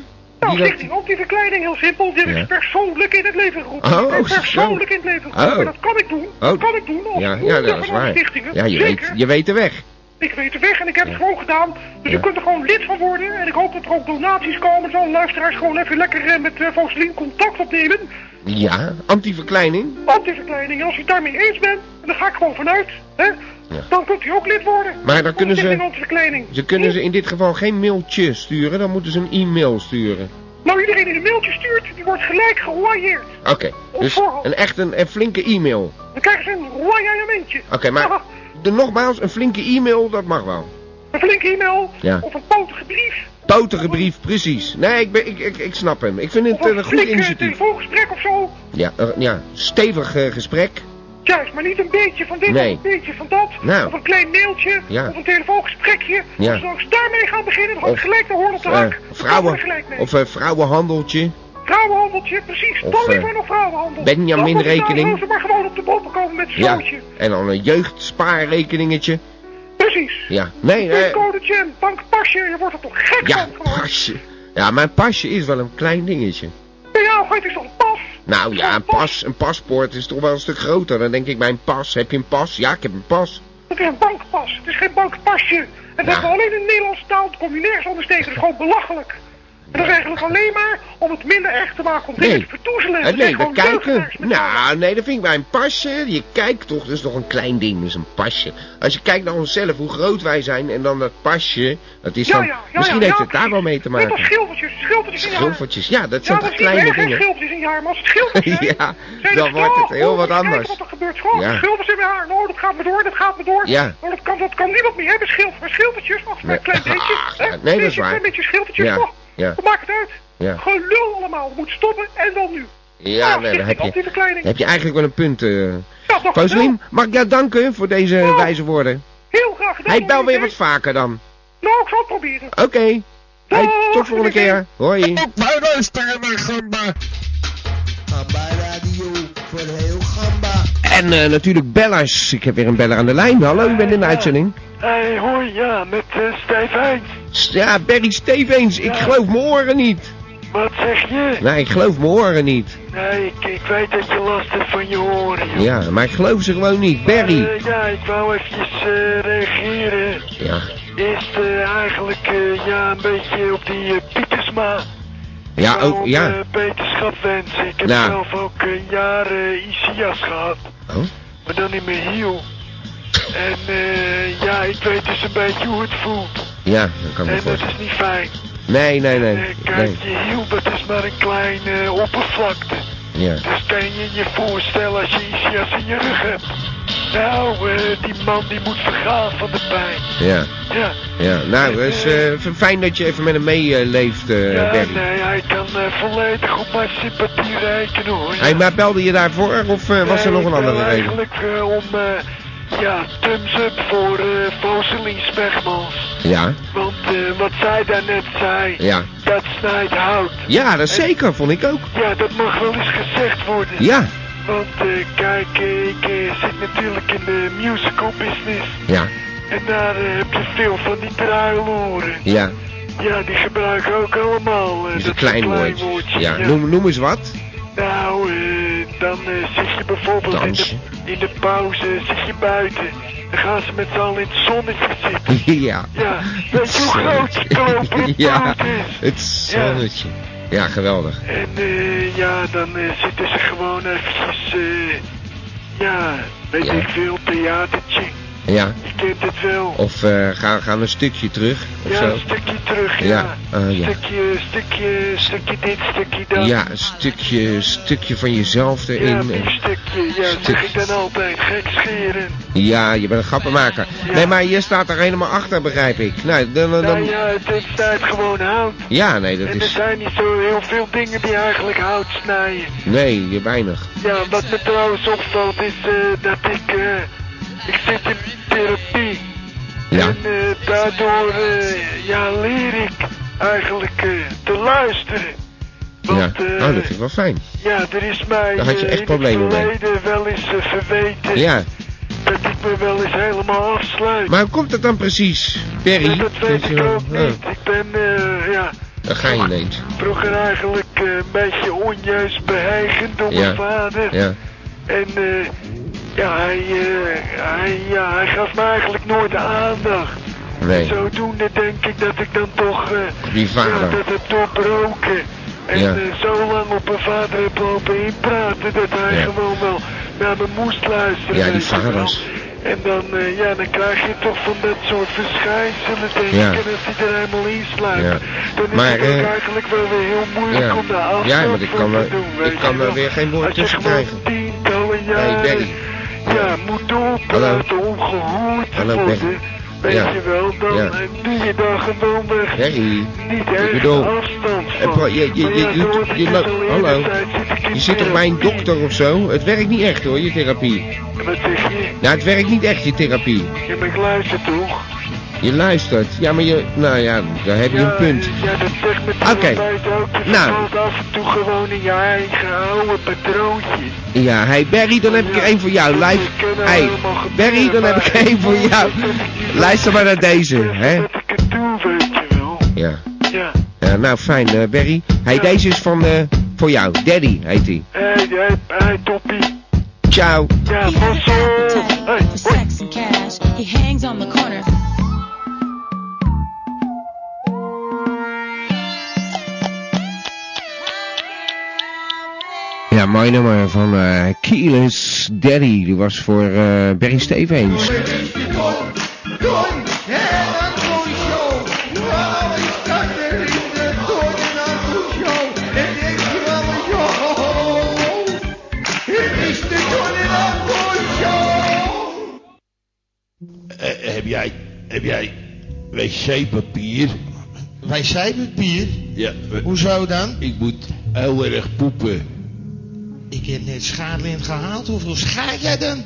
Nou,
Die dat-
stichting ook die verkleining, heel simpel. Dit
Ja.
is persoonlijk in het leven geroepen.
Oh,
Ik ben
zo.
persoonlijk in het leven geroepen.
Oh.
En Dat kan ik doen. Dat kan ik doen. Als
ja, ja,
voorzitter
dat is
van de
waar.
Stichtingen.
Ja, je
nou Zeker.
weet, je weet de weg.
Ik weet de weg en ik heb het gewoon gedaan. Dus
Ja.
u kunt er gewoon lid van worden. En ik hoop dat er ook donaties komen. Zo'n luisteraars gewoon even lekker eh, met eh Voselien contact opnemen.
Ja, anti-verkleining.
Antiverkleining. En als u het daarmee eens bent, en daar ga ik gewoon vanuit. Hè? Dan kunt u ook lid worden.
Maar dan kunnen ze-
In antiverkleining.
Ze kunnen ze in dit geval geen mailtje sturen, dan moeten ze een e-mail sturen.
Nou, iedereen die een mailtje stuurt, die wordt gelijk geroyeerd.
Oké, dus een echt een, een flinke e-mail.
Dan krijgen ze een royaillementje.
Oké, maar de, nogmaals, een flinke e-mail, dat mag wel.
Een flinke e-mail.
Ja.
Of een potige brief.
Potige brief, precies. Nee, ik, ben, ik, ik, ik snap hem. Ik vind het
Of
eh, een
een
goed
flinke
initiatief.
telefoongesprek of zo.
Ja, eh, ja, stevig eh, gesprek.
Juist, maar niet een beetje van dit
Nee.
of een beetje van dat.
Nou.
Of een klein mailtje.
Ja.
Of een telefoongesprekje.
Ja.
Als we dan daarmee gaan beginnen, dan had ik
Of,
gelijk de hoorn op de
Eh,
hak. Dan gaan we
vrouwen,
er gelijk mee.
of eh, vrouwenhandeltje.
Vrouwenhandeltje, precies.
Of,
dan
eh,
liever nog vrouwenhandel.
Benjamin
Dan moeten
rekening.
de Nederlanders maar gewoon op de boven komen met een
Ja,
zootje.
en dan een jeugdspaarrekeningetje.
Precies.
Ja, nee, eh,
Pincodetje en bankpasje, je wordt er toch gek
ja,
van gewoon.
pasje. Ja, mijn pasje is wel een klein dingetje.
Bij jou gaat het toch een pas?
Nou ja, een, pas, een paspoort is toch wel een stuk groter. Dan denk ik, mijn pas, heb je een pas? Ja, ik heb een pas.
Het is een bankpas, het is geen bankpasje. En dat
Ja.
we alleen in de Nederlandse taal, dat kom je nergens anders tegen. Dat is gewoon belachelijk. En dat is eigenlijk alleen maar om het minder echt te maken, om dingen
Nee.
te vertoezelen.
Eh,
Dat zijn
nee, we
gewoon
kijken.
leugenaars met
Nou, nee, dat vind ik bij een pasje. Je kijkt toch, dat is toch een klein ding, dat is een pasje. Als je kijkt naar onszelf, hoe groot wij zijn en dan dat pasje, dat is
Ja,
dan...
ja, ja,
misschien
ja,
heeft
ja,
het daar wel mee te
Net als
maken.
schilfertjes, schilfertjes in je haar.
Schilfertjes, ja, dat zijn
Ja, dat
toch
is niet
kleine
erg, hè,
dingen.
schilfertjes in je haar. Maar als het schilfers zijn,
Ja,
zijn
dan
het
wordt
toch,
het heel
oh,
wat
moet je kijken
anders.
wat er gebeurt. Gewoon
Ja.
schilfers in mijn haar. Nou, dat gaat me door, dat gaat me door.
Ja.
Oh, dat, kan, dat kan niemand meer hebben, schilfer, schilfertjes. Ach,
Nee.
een klein beetje.
Ach,
hè.
ja, nee, dat is
Beetje,
waar.
Een beetje schilfertjes,
Ja,
toch?
ja.
Wat maakt het uit?
Ja.
Gelul allemaal, we moeten stoppen en dan nu.
Ja, nee, dan
stichting
heb je,
antiverkleining.
heb je eigenlijk wel een punt. eh.
Ja, toch
Foselien,
wel.
mag ik jou danken voor deze wijze woorden?
Heel graag gedaan.
Hij bel
hoor,
weer
hè.
wat vaker dan.
Nou, ik zal het proberen.
Oké. Hey, tot volgende keer. Hoi.
Op mijn luisteren naar Gamba.
Gamba Radio voor heel Gamba.
En eh, natuurlijk bellers. Ik heb weer een beller aan de lijn. Hallo, u bent in de uitzending.
Hey, hoi, ja, met eh Stijf Heijn.
S- Ja, Barry Stevens. Ik geloof mijn oren niet.
Wat zeg je?
Nee, ik geloof mijn oren niet.
Nee, ik, ik weet dat je last hebt van je oren. joh.
Ja, maar ik geloof ze gewoon niet.
Maar,
Barry.
eh, ja, ik wou eventjes eh, reageren.
Ja.
Eerst eh, eigenlijk, eh, ja, een beetje op die eh, Pietersma.
Ja,
ook
ook, ja.
eh, beterschap wensen. Ik heb
Nou.
zelf ook eh, jaren ICIA's gehad.
Oh.
Maar dan in mijn hiel. En eh, ja, ik weet dus een beetje hoe het voelt.
Ja, dat kan ik me
En dat
voorstellen.
is niet fijn.
Nee, nee, nee.
Eh,
nee.
kijk, je hiel, dat is maar een kleine oppervlakte.
Ja.
Dus kan je je voorstellen als je ICS in je rug hebt. Nou, eh, die man die moet vergaan van de pijn.
Ja.
Ja,
Ja, nou, het is eh, fijn dat je even met hem meeleeft, eh
ja
Barry.
nee, hij kan eh, volledig op mijn sympathie rekenen hoor.
Hey, maar belde je daarvoor of eh, was er
Nee,
nog een
ik
andere
bel
reden?
eigenlijk eh, om, eh, ja, thumbs up voor eh Foselien Smegmans.
Ja,
Want eh, wat zij daarnet zei,
ja.
dat snijdt hout.
Ja, dat zeker, vond ik ook.
Ja, dat mag wel eens gezegd worden.
Ja,
Want eh, kijk, eh, ik eh, zit natuurlijk in de musical business.
Ja,
En daar eh, heb je veel van die druiloren.
ja.
Ja, die gebruiken ook allemaal. eh,
Dat is een
dat
klein woord.
woordje,
Ja, noem, noem eens wat.
Nou, eh, dan eh, zit je bijvoorbeeld in de,
Dansje.
in de pauze, zit je buiten. Dan gaan ze met z'n allen in het zonnetje zitten.
ja.
Ja, weet je hoe groot die klopere
Ja,
poot is?
het zonnetje. Ja, geweldig.
En eh, ja, dan eh, zitten ze gewoon eventjes, eh, ja, weet
Ja.
ik veel, theatertje.
Ja.
Je kent het wel.
Of eh, gaan, gaan we een stukje terug of
ja,
zo?
een stukje terug, ja.
Ja, ah, ja.
Stukje, stukje, stukje dit, stukje dat.
Ja, een stukje, stukje van jezelf
Ja,
erin.
die
eh.
stukje, ja, dat zeg ik dan altijd, gek scheren.
Ja, je bent een grappenmaker. Nee, maar je staat er helemaal achter, begrijp ik. Nou, dan, dan,
Nou
dan-
ja, het, het snijdt gewoon hout.
ja, nee, dat
En er
is...
zijn niet zo heel veel dingen die eigenlijk hout snijden.
Nee, je weinig.
Ja, wat me trouwens opvalt is eh, dat ik, eh, ik zit in therapie.
Ja,
En eh, daardoor eh, ja, leer ik eigenlijk eh, te luisteren. eh,
ja. Oh, dat is wel fijn.
Ja, er is mij
Daar had je
eh,
echt
in
problemen
het
mee.
verleden wel eens eh, verweten
Ja.
dat ik me wel eens helemaal afsluit.
Maar hoe komt dat dan precies, Perry?
Dus dat weet ik ook niet. Ik ben eh, ja,
Dan ga je ineens.
vroeger eigenlijk eh, een beetje onjuist beheigend door
Ja.
mijn vader.
Ja.
En eh, ja, hij, eh, hij, ja, hij gaf me eigenlijk nooit aandacht.
Nee.
Zodoende denk ik dat ik dan toch eh,
Die vader.
ja, dat heb doorbroken. En
Ja.
eh, zo lang op mijn vader heb lopen inpraten dat hij
Ja.
gewoon wel naar me moest luisteren.
Ja, die
weet je wel.
vaders.
En dan, eh, ja, dan krijg je toch van dat soort verschijnselen, denk
Ja.
ik. En als die er helemaal in sluit,
Ja.
dan is
Maar,
het ook
eh,
eigenlijk wel weer heel moeilijk
ja.
om daar
Ja,
afstand
want ik
voor
kan
te
er-
doen,
ik
weet je
kan er
wel.
weer geen woord
Als je
tussen
gewoon
krijgen.
tientallen jaren,
Barry.
ja, moet doorpraten om gehoord te
Hallo, Barry.
worden, weet
Ja.
je wel, dan
Ja.
eh, doe je daar gewoon weg
Perry.
niet
Ik
echt
bedoel,
afstand
eh, pro-
van.
je, je,
Maar
je,
ja,
je-
zo is
je
het dus
loopt-
al de hele
hallo,
tijd zit ik in
je zit toch bij een dokter of zo? Het werkt niet echt hoor, je therapie.
therapie. Wat zeg je?
Nou, het werkt niet echt, je therapie.
Je bent luister toch?
Je luistert. Ja, maar je... Nou ja, daar heb je een punt.
Ja, dat zegt me
Oké.
tegelijkertijd ook. Je
Nou.
vervalt af en toe gewoon in je eigen oude patroontjes.
Ja, hey Barry, dan heb ik er één voor jou. Live. Hey, Barry, dan heb ik er één voor jou. Luister maar naar deze, hè.
Doe, weet je wel.
Ja.
Ja.
Ja, nou, fijn, eh, Barry. Hey, deze is van... eh, voor jou. Daddy heet hij.
Hé, hey, hey, hey, toppie.
Ciao.
Ja,
He has
mossel.
appetite
Hey,
for sex and cash. He hangs on the corner.
Ja, mooi nummer van eh Keyless Daddy. Die was voor eh Barry Stevens.
Eh, heb jij, heb jij wc-papier?
Wc-papier?
Ja.
Hoezo dan?
Ik moet heel erg poepen.
Ik heb net schaarlint gehaald. Hoeveel schaar jij dan?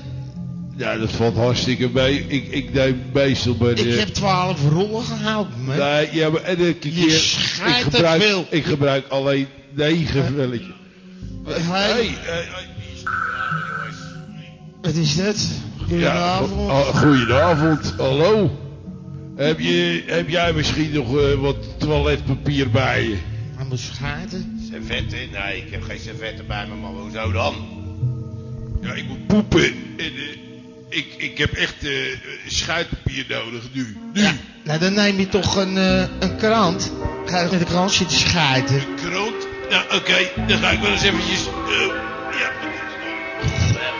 Ja, dat valt hartstikke mee. Ik, ik neem meestal bij de...
Ik heb twaalf rollen gehaald, man.
Nee, ja, maar en elke keer...
schijt
ik
het
gebruik,
wel.
Ik gebruik alleen negen velletjes. eh,
Hey. Wat is dat? Goedenavond.
Ja, oh, goedenavond, hallo. Heb, je, heb jij misschien nog eh, wat toiletpapier bij je?
Aan mijn schaarten.
Servetten? Nee, ik heb geen servetten bij me, maar hoezo dan?
Ja, ik moet poepen. En, eh, ik, ik heb echt eh schuitpapier nodig nu. Nu.
Nou, dan neem je toch een, eh, een krant. Ga je met de krant zitten schaarten.
Kroot. Nou, oké. Dan ga ik wel eens eventjes... eh, ja.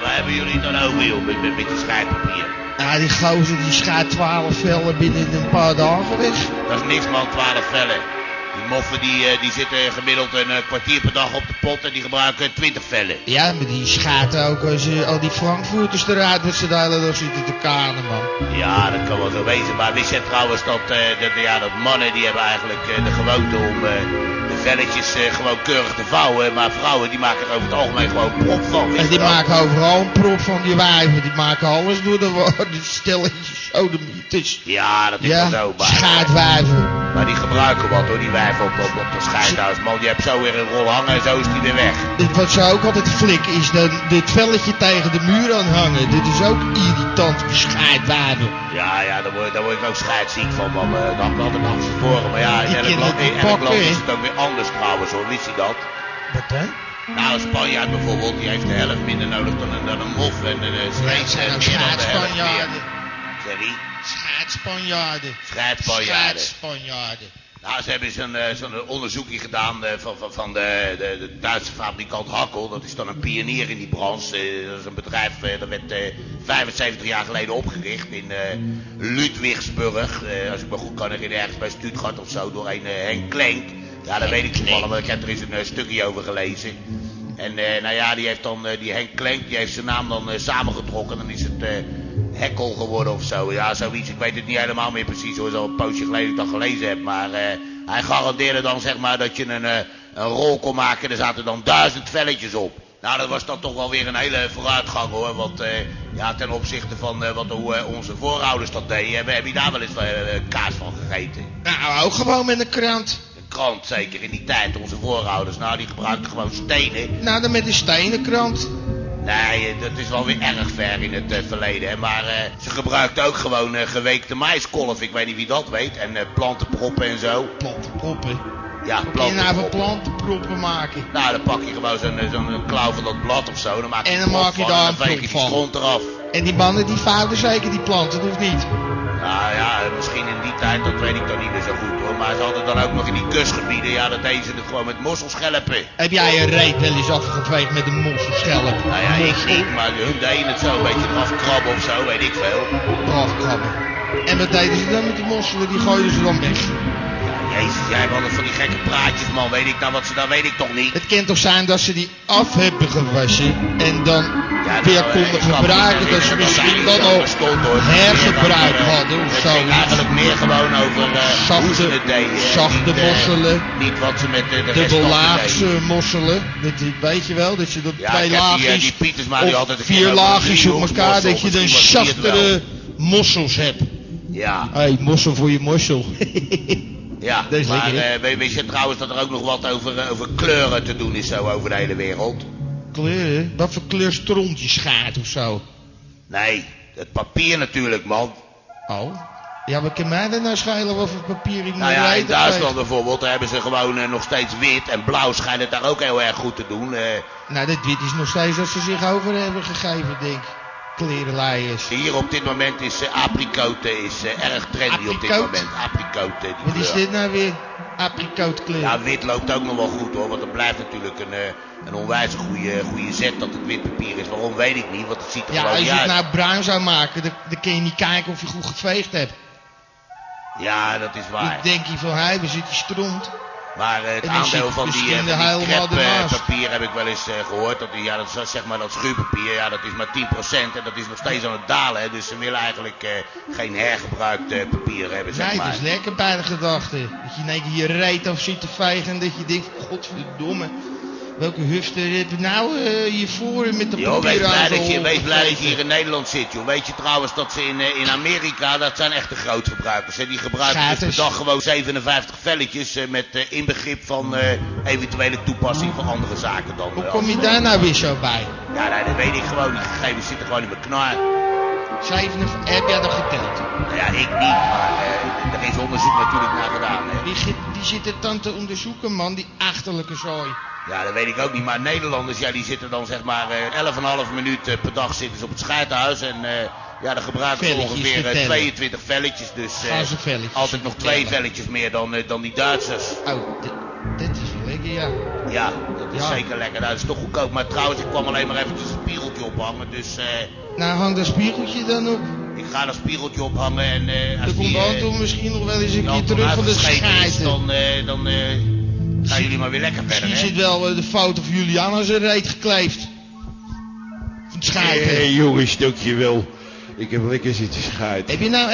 Waar hebben jullie dan over, joh, met, met, met die schijtpapier?
Ja, die gozer die schaart 12 vellen binnen een paar dagen weg.
Dat is niks, man, 12 vellen. Die moffen die, eh, die zitten gemiddeld een eh, kwartier per dag op de pot en die gebruiken 20 vellen.
Ja, maar die schaarten ook als eh, al die Frankfurters eruit wat ze de hele dag zitten te kanen, man.
Ja, dat kan wel zo wezen, maar wist je trouwens dat, eh, dat, ja, dat mannen die hebben eigenlijk eh, de gewoonte om eh, de velletjes eh, gewoon keurig te vouwen, maar vrouwen die maken er over het algemeen gewoon prop van. wist
En
je
die
dat?
maken overal een prop van die wijven. Die maken alles door de war. Die stelletjes, sodemieters.
Ja, dat is
Ja,
wel zo, maar...
schaatwijven.
Maar die gebruiken wat hoor, die wijven op, op, op de scheidhuis. Man, die hebt zo weer een rol hangen en zo is die weer weg.
Dit wat ze ook altijd flik is, dat dit velletje tegen de muur aan hangen. Dit is ook irritant bescheidwaardig.
Ja, ja, daar word, daar word ik ook scheidsziek van, man. Eh, Dat had ik altijd achter voren. Maar ja, in
Ik
elk
ken
land,
dat
in
niet
elk
pakken,
land is
hè.
het ook weer anders trouwens hoor, wist je dat?
Wat dan?
Nou, een Spanjaard bijvoorbeeld, die heeft de helft minder nodig dan een, dan een mof en een eh, Zweed
zijn
en
ook
meer dan de helft meer.
scheidspanjaarden.
Sorry?
Scheidspanjaarden.
Scheidspanjaarden.
Scheidspanjaarden.
Nou, ze hebben zo'n eh, zo'n onderzoekje gedaan eh, van, van, van de, de, de Duitse fabrikant Hakkel. Dat is dan een pionier in die branche. Eh, dat is een bedrijf eh, dat werd eh, 75 jaar geleden opgericht in eh Ludwigsburg. Eh, als ik me goed kan herinneren, ergens bij Stuttgart of zo, door een eh, Henk Klenk. Ja, dat weet ik toevallig, want ik heb er eens een eh, stukje over gelezen. En eh, nou ja, die heeft dan, eh, die Henk Klenk, die heeft zijn naam dan eh, samengetrokken. Dan is het eh Hekkel geworden of zo. Ja, zoiets. Ik weet het niet helemaal meer precies hoor. Zo'n poosje geleden dat ik dat gelezen heb. Maar eh, hij garandeerde dan zeg maar dat je een, eh, een rol kon maken. Er zaten dan duizend velletjes op. Nou, dat was dan toch wel weer een hele vooruitgang hoor. Want eh, ja, ten opzichte van eh, wat, hoe eh, onze voorouders dat deden, hebben heb je daar wel eens eh, kaas van gegeten.
Nou, ook gewoon met een krant.
Een krant zeker in die tijd, onze voorouders. Nou, die gebruikten gewoon stenen.
Nou, dan met een stenen krant.
Nee, eh, dat is wel weer erg ver in het eh, verleden. Hè? Maar eh, ze gebruikt ook gewoon eh, geweekte maiskolf. Ik weet niet wie dat weet. En eh, plantenproppen en zo.
Plantenproppen?
Ja,
En nou van
plantenproppen.
plantenproppen maken.
Nou, dan pak je gewoon zo'n eh, zo'n klauw van dat blad of zo. Dan maak je,
En dan
een prop
maak je
van
daar
en
een
dan veeg je
prop
die
van.
stront eraf.
En die banden die vader zeker die planten, of niet?
Nou ja, eh, misschien in die tijd, dat weet ik dan niet meer zo goed hoor. Maar ze hadden dan ook nog in die kustgebieden, ja, dat deden ze het gewoon met mosselschelpen.
Heb jij een reet wel eens afgeveegd met een mosselschelp?
Nou ja, ik niet, maar hun deden het zo. Weet je, eraf krabben of zo, weet ik veel.
Afkrabben. En wat deden ze dan met die mosselen? Die gooiden ze dan weg.
Jezus, jij hebt altijd van die gekke praatjes, man. Weet ik nou wat ze, dat weet ik toch niet.
Het kan toch zijn dat ze die af hebben gewassen en dan
nou,
weer
eh,
konden
ik kan me
gebruiken.
niet
Dat ze
herinneren dat
misschien
dat
dan al
bestond, hoor. Meer
hergebruik
dan, eh,
hadden of
Het
zo.
ging eigenlijk meer gewoon over eh hoe ze het deden. hè.
zachte
Niet, eh,
mosselen.
niet wat ze met eh, de rest
Dubbellaagse mosselen. Dat, die- weet je wel, dat je dat
Ja,
twee
ik heb die, eh,
laagjes
die Pieters, maar
of
die altijd een keer
vier
over
laagjes
drie
op
hoekmossel,
elkaar, dat je dan
misschien was die het wel.
zachtere mossels hebt.
Ja.
Hé, mossel voor je mossel.
Ja,
Dat is
maar
lekker, hè?
eh, weet- wist je trouwens dat er ook nog wat over, eh, over kleuren te doen is zo over de hele wereld?
Kleuren? Wat voor kleur stront je schaart of zo?
Nee, het papier natuurlijk, man.
Oh? Ja, wat kan mij dat nou schelen wat voor papier ik
Nou
moet
ja, in
rijden?
Duitsland bijvoorbeeld daar hebben ze gewoon eh, nog steeds wit en blauw schijnt het daar ook heel erg goed te doen. eh.
Nou, dit wit is nog steeds dat ze zich over hebben gegeven, denk ik. Klerenlaaiers.
hier op dit moment is eh, apricoten is, eh, erg trendy op dit
Aprikoot?
moment. Apricoten, die
Wat is
kleur.
dit nou weer? Aprikootkleur.
Ja, wit loopt ook nog wel goed hoor, want het blijft natuurlijk een, eh, een onwijs goede, goede zet dat het wit papier is. Waarom weet ik niet, want het ziet er
Ja,
gewoon
als
niet
je het
uit.
nou bruin zou maken, dan, dan kun je niet kijken of je goed geveegd hebt.
Ja, dat is waar.
Ik denk hier van, hij, we zitten stront.
Maar eh, het
En dan
aandeel
zit
van die,
misschien
eh, van
de
die
helemaal
crepe, eh,
ernaast.
papier heb ik wel eens eh, gehoord. Dat, die- ja, dat, is, zeg maar, dat schuurpapier, ja, dat is maar 10% en dat is nog steeds aan het dalen. Hè, dus ze willen eigenlijk eh, geen hergebruikt eh, papier hebben, zeg
Nee,
maar.
dat is lekker bij de gedachte. Dat je in één keer je reet af ziet te vijgen en dat je denkt, godverdomme. Welke hufter heb je nou eh, hiervoor met de
Joh, wees
papieren
blij,
aanval
dat je, wees blij dat je hier
opgegeven?
in Nederland zit, joh. Weet je trouwens dat ze in, eh, in Amerika, dat zijn echte grootverbruikers. Hè? Die gebruiken dus per
Schaters.
dag gewoon 57 velletjes eh, met eh, inbegrip van eh, eventuele toepassing voor andere zaken dan. Hoe
Kom je daar nou weer zo bij?
Ja, nee, dat weet ik gewoon. Die gegevens zitten gewoon in mijn knar.
57, heb jij dat geteld?
Nou ja, ik niet, maar eh, er is onderzoek natuurlijk naar gedaan. Hè.
Wie, ge- wie zit er dan te onderzoeken, man? Die achterlijke zooi.
Ja, dat weet ik ook niet, maar Nederlanders, ja, die zitten dan zeg maar eh 11,5 minuut eh, per dag zitten ze op het scheidhuis. En eh, ja, dan gebruiken ze
Velletjes
ongeveer eh,
vertellen.
22 velletjes. Dus eh,
Gaan ze velletjes
altijd nog twee velletjes meer dan, eh, dan die Duitsers.
Oh, d- dit is wel lekker, ja.
Ja, dat is
Ja.
zeker lekker. Nou, dat is toch goedkoop. Maar trouwens, ik kwam alleen maar eventjes een spiegeltje ophangen. Dus eh,
Nou, hang dat spiegeltje dan op.
ik ga dat spiegeltje ophangen. En eh als
Dan komt
die,
de
Nou, eh,
auto misschien nog wel eens een
die
keer
auto
terug van de
uitgescheten is,
scheiden.
Dan, eh, dan eh, gaan jullie maar weer lekker verder,
Misschien
hè?
zit wel eh, de foto van Juliana zijn reet gekleefd. Van het scheiden.
Hé Eh, jongens, dankjewel. Ik heb lekker zitten scheiden.
Heb je nou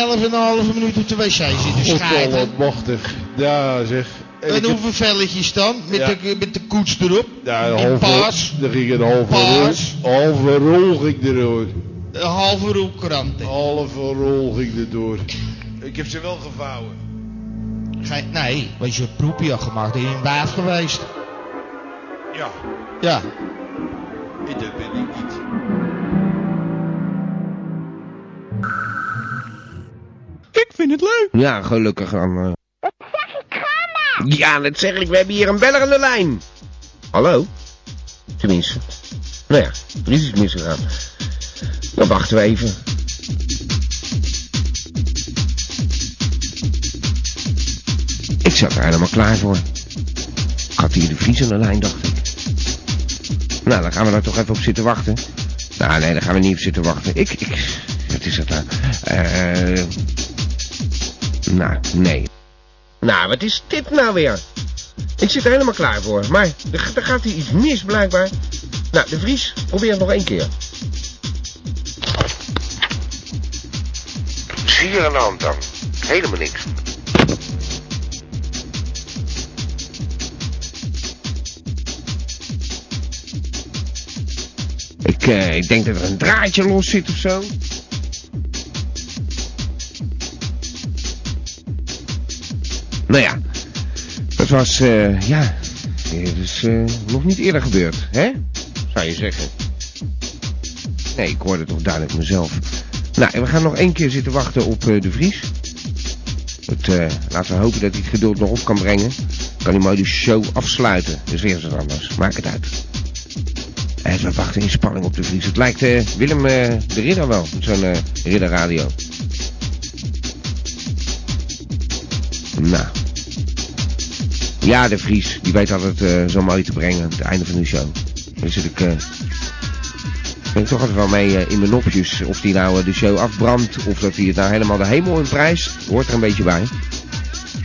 11,5 minuut op de wc zitten scheiden?
machtig. Ja zeg. En ik
En
heb-
hoeveel velletjes dan? Met,
Ja.
de, met de koets erop?
Ja, een
In
halve,
paars?
Er ging een halve
Paars?
rol, halve rol ging erdoor.
Een halve roelkrant.
Halve rol ging erdoor. Ik heb ze wel gevouwen.
Ga je- nee, want je proepje had gemaakt en je een baas geweest.
Ja.
Ja.
Dat ben ik niet.
Ik vind het leuk. Ja, gelukkig dan. eh. Ja, dat zeg ik. We hebben hier een beller aan de lijn. Hallo? Tenminste. Nou ja, er is iets misgegaan. Dan wachten we even. Ik zat er helemaal klaar voor. Ik had hier de Vries aan de lijn, dacht ik. Nou, dan gaan we daar toch even op zitten wachten. Nou, nee, daar gaan we niet op zitten wachten. Ik, ik... Wat is dat nou? Eh... Nou, nee. Nou, wat is dit nou weer? Ik zit er helemaal klaar voor. Maar er, er gaat hier iets mis blijkbaar. Nou, de Vries, probeer het nog één keer. Zie je aan de hand dan? Helemaal niks. Ik, eh, ik denk dat er een draadje los zit of zo. Nou ja, dat was, eh, ja, dit is eh, nog niet eerder gebeurd, hè? Zou je zeggen. Nee, ik hoorde toch duidelijk mezelf. Nou, en we gaan nog één keer zitten wachten op eh, de Vries. Het, eh, laten we hopen dat hij het geduld nog op kan brengen. Kan hij mooi de show afsluiten. Dus weer eens wat anders. Maak het uit. En we wachten in spanning op de Vries. Het lijkt eh, Willem eh, de Ridder wel, met zo'n eh, ridderradio. Nou. Ja, de Vries. Die weet altijd eh, zo mooi te brengen. Het einde van de show. Dan zit ik... eh, ben ik toch altijd wel mee eh, in mijn nopjes. Of die nou eh, de show afbrandt. Of dat hij het nou helemaal de hemel in prijst. Hoort er een beetje bij.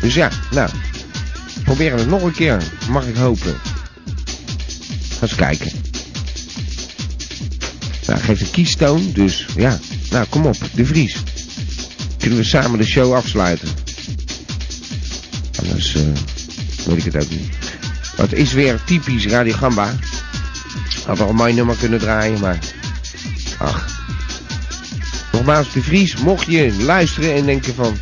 Dus ja, nou. Proberen we het nog een keer. Mag ik hopen. Ga eens kijken. Nou, geeft een kiestoon. Dus ja. Nou, kom op. De Vries. Kunnen we samen de show afsluiten? Anders eh, weet ik het ook niet. Maar het is weer typisch Radio Gamba. Had al een mooi nummer kunnen draaien, maar... Ach. Nogmaals, de Vries, mocht je luisteren en denken van...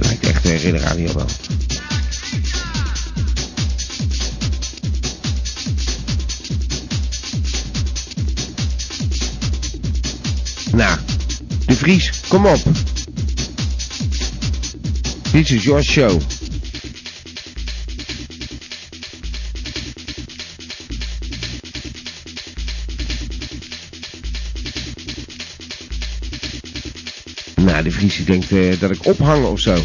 Lijkt echt eh, Ridder Radio wel. Nou, de Vries, kom op. Dit is your show. Nou, de Vries die denkt eh, dat ik ophang of zo.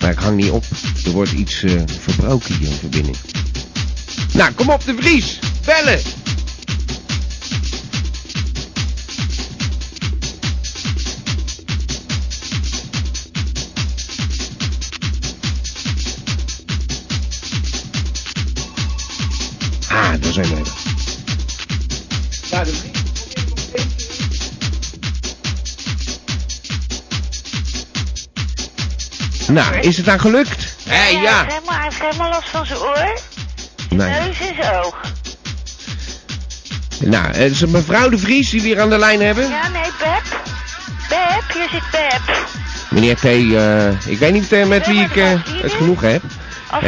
Maar ik hang niet op. Er wordt iets eh, verbroken hier in verbinding. Nou, kom op, de Vries! Bellen! Ah, daar zijn we. Nou, is het nou gelukt? Hé, ja.
eh,
Hij heeft helemaal last van zijn oor,
Nee.
neus en zijn oog.
Nou, het is een mevrouw de Vries die we hier aan de lijn hebben.
Ja, nee, Beb. Beb, hier zit Beb.
Meneer T, eh, ik weet niet eh, met wie ik eh, het genoeg heb. Het-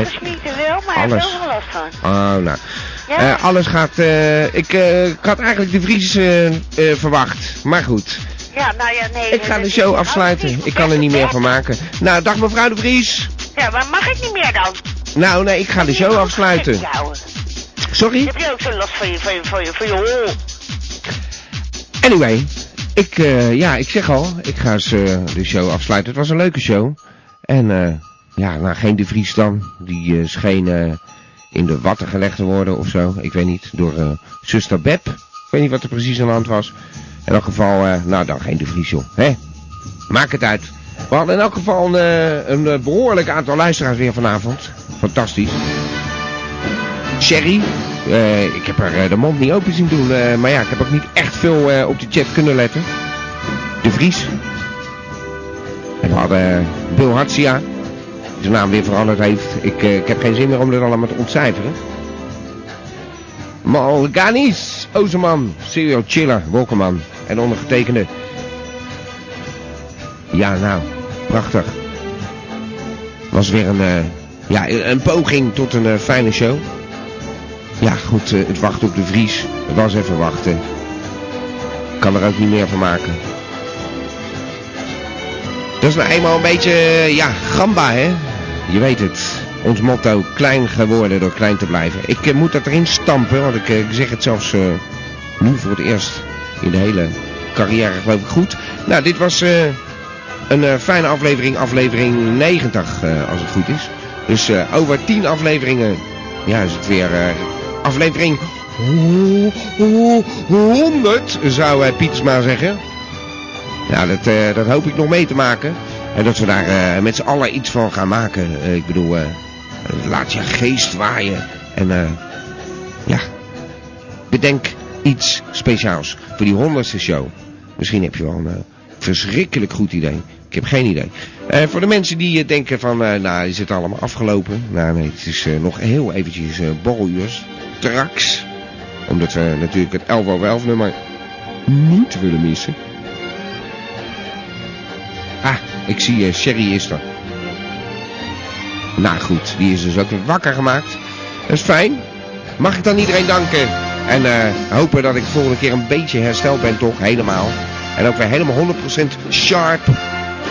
Afgesmieten wel, maar hij heeft
Eh, alles.
wel wel last van.
Oh, nou.
Ja.
Eh, alles gaat... eh, ik, eh, ik had eigenlijk de Vries eh, eh, verwacht. Maar goed.
Ja, nou ja, nee.
Ik ga
dat
de
is
show
niet
afsluiten.
alles
Ik kan er niet meer van maken. Nou, dag mevrouw de Vries.
niet. Ja, maar mag ik niet meer dan?
Nou, nee, ik ga de show afsluiten.
Ja, hoor.
Sorry?
Heb je ook zo last van je, van je, van je, van je
哦
hol?
Anyway, ik, eh, ja, ik zeg al, ik ga eens, eh, de show afsluiten. Het was een leuke show. En eh, ja, nou, geen De Vries dan. Die eh, scheen eh, in de watten gelegd te worden of zo. Ik weet niet, door eh, zuster Beb. Ik weet niet wat er precies aan de hand was. In elk geval, eh, nou dan geen De Vries joh. Hè? Maak het uit. We hadden in elk geval een, eh, een eh, behoorlijk aantal luisteraars weer vanavond. Fantastisch. Sherry. eh, ik heb haar eh, de mond niet open zien doen. eh, maar ja, ik heb ook niet echt veel eh, op de chat kunnen letten. De Vries. En we hadden eh, Bill Hatsia. Die zijn naam weer veranderd heeft. Ik, eh, ik heb geen zin meer om dat allemaal te ontcijferen. Malganis. Ozeman. Serial Chiller. Wolkerman. en ondergetekende. Ja, nou, prachtig. Was weer een, eh, ja, een poging tot een eh, fijne show. Ja, goed, eh, het wachten op de Vries was even wachten. Kan er ook niet meer van maken. Dat is nou eenmaal een beetje, eh, ja, gamba, hè? Je weet het. Ons motto, klein geworden door klein te blijven. Ik eh, moet dat erin stampen, want ik eh, zeg het zelfs eh, nu voor het eerst in de hele carrière, geloof ik, goed. Nou, dit was eh, een eh, fijne aflevering, aflevering 90, eh, als het goed is. Dus eh, over 10 afleveringen, ja, is het weer eh, aflevering 100, zou eh, Pietersma zeggen. Nou, dat, eh, dat hoop ik nog mee te maken. En dat we daar eh, met z'n allen iets van gaan maken. Eh, ik bedoel, eh, laat je geest waaien. En eh, ja, bedenk iets speciaals voor die honderdste show. Misschien heb je wel een eh, verschrikkelijk goed idee. Ik heb geen idee. Eh, voor de mensen die eh, denken van, eh, nou is het allemaal afgelopen. Nou nee, het is eh, nog heel eventjes eh borreluur. Straks, omdat we natuurlijk het 11 over 11 nummer niet willen missen. Ah, ik zie eh, Sherry is er. Nou goed, die is dus ook weer wakker gemaakt. Dat is fijn. Mag ik dan iedereen danken? En eh, hopen dat ik volgende keer een beetje hersteld ben, toch? Helemaal. En ook weer helemaal 100% sharp.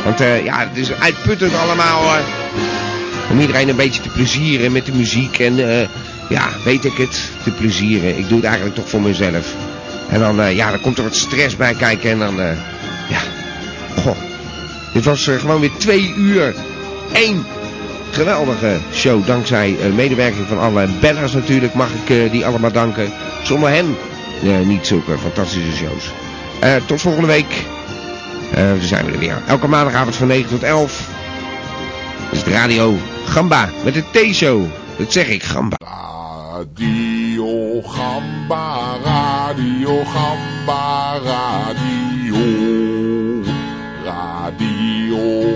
Want eh, ja, het is uitputtend allemaal. eh, om iedereen een beetje te plezieren met de muziek. En eh, ja, weet ik het, te plezieren. Ik doe het eigenlijk toch voor mezelf. En dan, eh, ja, dan komt er wat stress bij kijken. En dan, eh, ja, goh. Dit was eh, gewoon weer twee uur. Eén geweldige show. Dankzij eh, medewerking van alle bellers natuurlijk mag ik eh, die allemaal danken. Zonder hen eh, niet zulke fantastische shows. Eh, tot volgende week. Eh we zijn er weer. Elke maandagavond van 9 tot 11. Is het radio Gamba met de T-show. Dat zeg ik, Gamba.
Radio Gamba, Radio Gamba, Radio. Radio